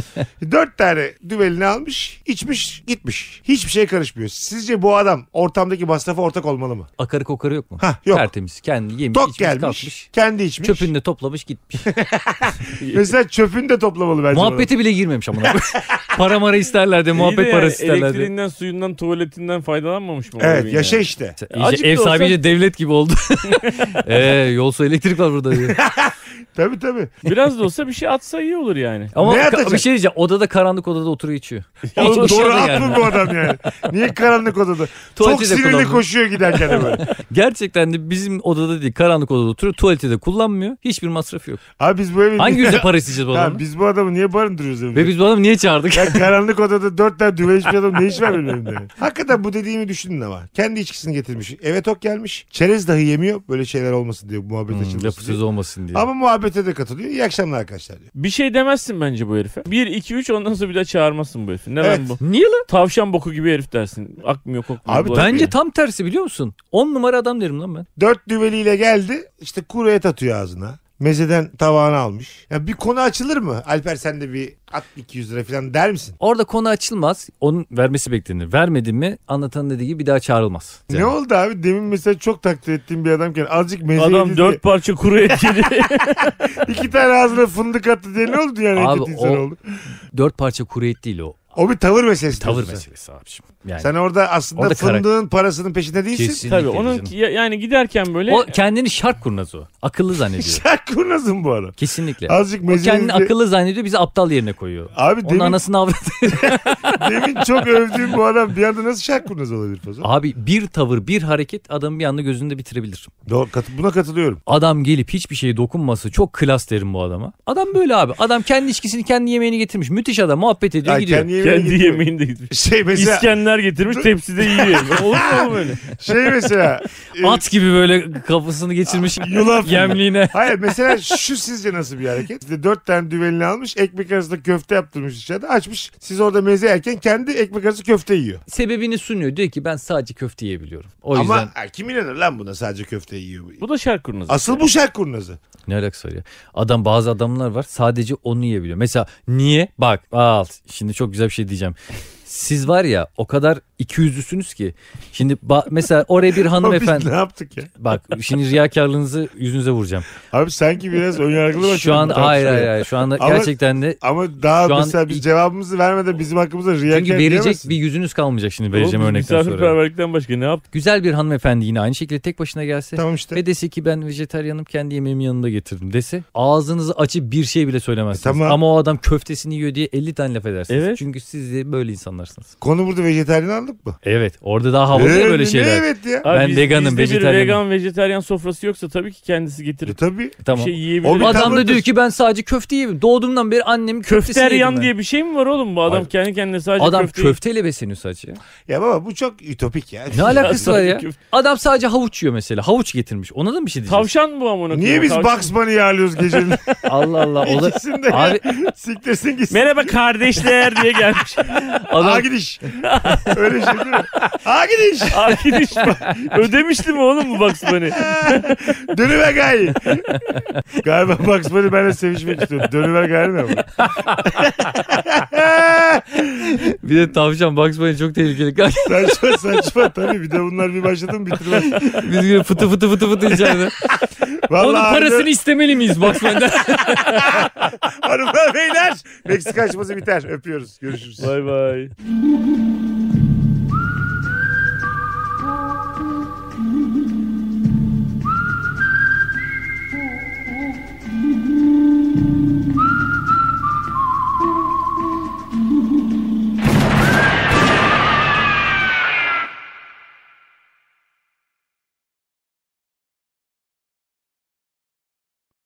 Speaker 1: Dört tane düvelini almış, içmiş, gitmiş. Hiçbir şey karışmıyor. Sizce bu adam ortamdaki masrafa ortak olmalı mı?
Speaker 2: Akarı kokarı yok mu?
Speaker 1: Hah yok.
Speaker 2: Tertemiz. Kendi yemiş
Speaker 1: Tok
Speaker 2: içmiş
Speaker 1: gelmiş,
Speaker 2: kalkmış.
Speaker 1: kendi içmiş.
Speaker 2: Çöpünü de toplamış gitmiş.
Speaker 1: Mesela çöpünü de toplamalı bence.
Speaker 2: Muhabbete bile girmemiş amına. koyayım. para mara isterler diye,
Speaker 3: İyi de
Speaker 2: muhabbet
Speaker 3: yani
Speaker 2: parası isterler diye.
Speaker 3: Elektriğinden, suyundan, tuvaletinden faydalanmamış mı?
Speaker 1: bu adam. Evet şey- yaşa işte.
Speaker 2: İyice
Speaker 3: Azıcık da
Speaker 2: ev
Speaker 3: olsa-
Speaker 2: sahibi iyice devlet gibi oldu. Eee yolsa elektrik var burada diye.
Speaker 1: Tabii tabii.
Speaker 3: Biraz da olsa bir şey atsa iyi olur yani.
Speaker 2: Ama
Speaker 1: Ne
Speaker 2: ka-
Speaker 1: atacak?
Speaker 2: bir şey diyeceğim. Odada karanlık odada oturuyor içiyor.
Speaker 1: Oğlum
Speaker 2: Hiç
Speaker 1: doğru
Speaker 2: dışarıda
Speaker 1: at mı
Speaker 2: gelmiyor.
Speaker 1: bu adam yani? Niye karanlık odada? Çok
Speaker 2: Tuvalete de
Speaker 1: sinirli
Speaker 2: kullanmıyor.
Speaker 1: koşuyor giderken de böyle.
Speaker 2: Gerçekten de bizim odada değil karanlık odada oturuyor. Tuvaleti de kullanmıyor. Hiçbir masrafı yok.
Speaker 1: Abi biz bu evi...
Speaker 2: Hangi yüzde para isteyeceğiz bu
Speaker 1: Tamam,
Speaker 2: adamı?
Speaker 1: biz bu adamı niye barındırıyoruz evimizde?
Speaker 2: Ve biz bu adamı niye çağırdık?
Speaker 1: Ya karanlık odada dört tane düve içmiş adam ne iş var benim evimde? Hakikaten bu dediğimi düşündün ama. Kendi içkisini getirmiş. Eve tok gelmiş. Çerez dahi yemiyor. Böyle şeyler olmasın diye muhabbet
Speaker 2: Hmm,
Speaker 1: açılmasın
Speaker 2: lafı
Speaker 1: diye.
Speaker 2: söz olmasın diye.
Speaker 1: Ama muhabbete de katılıyor. İyi akşamlar arkadaşlar diyor.
Speaker 3: Bir şey demezsin bence bu herife. 1, 2, 3 ondan sonra bir daha çağırmazsın bu herifi. Ne
Speaker 1: Evet.
Speaker 3: lan bu?
Speaker 2: Niye lan?
Speaker 3: Tavşan boku gibi herif dersin. Akmıyor kokmuyor.
Speaker 1: Abi
Speaker 3: bulaşmıyor.
Speaker 2: Bence tam tersi biliyor musun? 10 numara adam derim lan ben.
Speaker 1: Dört düveliyle geldi. İşte kuru et atıyor ağzına. Mezeden tabağını almış. Ya bir konu açılır mı? Alper sen de bir at 200 lira falan der misin?
Speaker 2: Orada konu açılmaz. Onun vermesi beklenir. Vermedi mi anlatanın dediği gibi bir daha çağrılmaz.
Speaker 1: Ne oldu abi? Demin mesela çok takdir ettiğim bir adamken azıcık meze
Speaker 3: Adam
Speaker 1: yedi
Speaker 3: dört parça kuru et yedi.
Speaker 1: diye iki tane ağzına fındık attı diye ne oldu yani?
Speaker 2: Abi
Speaker 1: Abi, o...
Speaker 2: o-
Speaker 1: oldu.
Speaker 2: Dört parça kuru et değil o.
Speaker 1: o bir tavır meselesi.
Speaker 2: Tavır
Speaker 1: diyorsun sen.
Speaker 2: meselesi abiciğim. Yani
Speaker 1: Sen orada aslında
Speaker 2: Orada karak-
Speaker 1: fındığın parasının peşinde değilsin.
Speaker 2: kesinlikle.
Speaker 3: Tabii onun
Speaker 2: canım.
Speaker 3: ya- yani giderken böyle
Speaker 2: O kendini şark kurnaz o. Akıllı zannediyor.
Speaker 1: Sen kurnazın bu adam.
Speaker 2: Kesinlikle.
Speaker 1: Azıcık
Speaker 2: O kendini
Speaker 1: mezeyi...
Speaker 2: akıllı zannediyor bizi aptal yerine koyuyor.
Speaker 1: Abi
Speaker 2: Onun
Speaker 1: demin,
Speaker 2: anasını avradı.
Speaker 1: demin çok övdüğüm bu adam bir anda nasıl şark kurnaz olabilir Fazıl?
Speaker 2: Abi bir tavır bir hareket adamı bir anda gözünde bitirebilir.
Speaker 1: Doğru, kat- buna katılıyorum.
Speaker 2: Adam gelip hiçbir şeye dokunması çok klas derim bu adama. Adam böyle abi. Adam kendi içkisini kendi yemeğini getirmiş. Müthiş adam muhabbet ediyor
Speaker 1: Ay,
Speaker 2: gidiyor.
Speaker 1: kendi yemeğine
Speaker 3: kendi
Speaker 1: gidiyor.
Speaker 3: yemeğini de gitmiş.
Speaker 1: Şey mesela,
Speaker 3: İskender getirmiş tepside yiyor. Olur mu oğlum öyle?
Speaker 1: şey mesela. e,
Speaker 2: At gibi böyle kafasını geçirmiş
Speaker 1: Yulaf.
Speaker 2: yemliğine.
Speaker 1: Hayır mesela şu sizce nasıl bir hareket? İşte dört tane düvelini almış ekmek arasında köfte yaptırmış içeride açmış. Siz orada meze yerken kendi ekmek arası köfte yiyor.
Speaker 2: Sebebini sunuyor. Diyor ki ben sadece köfte yiyebiliyorum. O
Speaker 1: Ama
Speaker 2: yüzden
Speaker 1: ay, kim inanır lan buna sadece köfte yiyor.
Speaker 3: Bu da şark kurnazı.
Speaker 1: Asıl bu şark kurnazı.
Speaker 2: ne alakası var ya. Adam bazı adamlar var sadece onu yiyebiliyor. Mesela niye? Bak al şimdi çok güzel bir şey diyeceğim. Siz var ya o kadar ikiyüzlüsünüz ki. Şimdi ba- mesela oraya bir
Speaker 1: Ama biz
Speaker 2: hanımefendi.
Speaker 1: ne yaptık ya?
Speaker 2: Bak şimdi riyakarlığınızı yüzünüze vuracağım.
Speaker 1: Abi sanki biraz önyargılı başladık
Speaker 2: Şu
Speaker 1: bu
Speaker 2: an hayır
Speaker 1: tartışmaya.
Speaker 2: hayır hayır. Şu anda
Speaker 1: Ama-
Speaker 2: gerçekten de
Speaker 1: Ama daha
Speaker 2: Şu an-
Speaker 1: mesela biz cevabımızı vermeden bizim hakkımızda riyakar
Speaker 2: çünkü verecek
Speaker 1: diyemezsin.
Speaker 2: bir yüzünüz kalmayacak şimdi
Speaker 3: Oğlum biz
Speaker 2: vereceğim örnekten sonra.
Speaker 3: Misafirperverlikten başka ne yaptık?
Speaker 2: Güzel bir hanımefendi yine aynı şekilde tek başına gelse
Speaker 1: Tamam işte.
Speaker 2: ve dese ki ben vejetaryenim kendi yemeğimi yanında getirdim dese ağzınızı açıp bir şey bile söylemezsiniz.
Speaker 1: E, tamam.
Speaker 2: Ama o adam köftesini yiyor diye 50 tane laf edersiniz.
Speaker 3: Evet.
Speaker 2: Çünkü siz de böyle insanlar anlarsınız.
Speaker 1: Konu burada vejetaryen aldık mı?
Speaker 2: Evet orada daha havalı ya
Speaker 1: Ee,
Speaker 2: böyle
Speaker 1: ne
Speaker 2: şeyler.
Speaker 1: Evet ya.
Speaker 2: Ben veganım,
Speaker 3: bizde
Speaker 2: vejetaryenim.
Speaker 3: bir vegan, vejetaryen sofrası yoksa tabii ki kendisi
Speaker 1: E
Speaker 3: getirip
Speaker 1: tabii.
Speaker 2: Tamam.
Speaker 3: bir şey
Speaker 1: O
Speaker 3: yiyebilir.
Speaker 1: bir-
Speaker 2: Adam da
Speaker 1: tavırdır.
Speaker 2: diyor ki ben sadece köfte yiyeyim. Doğduğumdan beri annem köftesini yedim ben.
Speaker 3: Köfteryan diye bir şey mi var oğlum bu adam
Speaker 2: Hayır.
Speaker 3: kendi kendine sadece
Speaker 2: Adam
Speaker 3: köfte yiyor.
Speaker 2: köfteyle besleniyor sadece. ya.
Speaker 1: Ya baba bu çok ütopik ya.
Speaker 2: Ne alakası var
Speaker 3: Sadece
Speaker 2: ya?
Speaker 3: köfte.
Speaker 2: Adam sadece havuç yiyor mesela. Havuç getirmiş. Ona da mı bir şey diyeceğiz?
Speaker 3: Tavşan bu amına koyayım.
Speaker 1: Niye biz
Speaker 3: Tavşan.
Speaker 1: Bugs Bunny'i ağırlıyoruz gecenin
Speaker 2: Allah Allah. Ola...
Speaker 1: ikisinde?
Speaker 2: Abi
Speaker 1: Siktirsin gitsin.
Speaker 3: Merhaba kardeşler diye gelmiş.
Speaker 1: Adam...
Speaker 2: adam
Speaker 1: gidiş. Öyle şey değil mi? Ağa gidiş.
Speaker 3: Arkadaş bak, ödemişti mi oğlum bu Bugs Bunny?
Speaker 1: Dönüver gayi. Galiba Bugs Bunny benimle sevişmek istiyor. Dönüver gayi ne bu?
Speaker 2: bir de tavşan Bugs Bunny çok tehlikeli. Kanka,
Speaker 1: Saçma saçma tabii. Bir de bunlar bir başladı mı bitirmez.
Speaker 2: Biz böyle fıtı fıtı fıtı fıtı içeride.
Speaker 1: Vallahi
Speaker 2: Onun parasını
Speaker 1: harbiden-
Speaker 2: istemeli miyiz Bugs Bunny'den?
Speaker 1: Hanımlar beyler. Meksika açması biter. Öpüyoruz. Görüşürüz.
Speaker 3: Bay bay.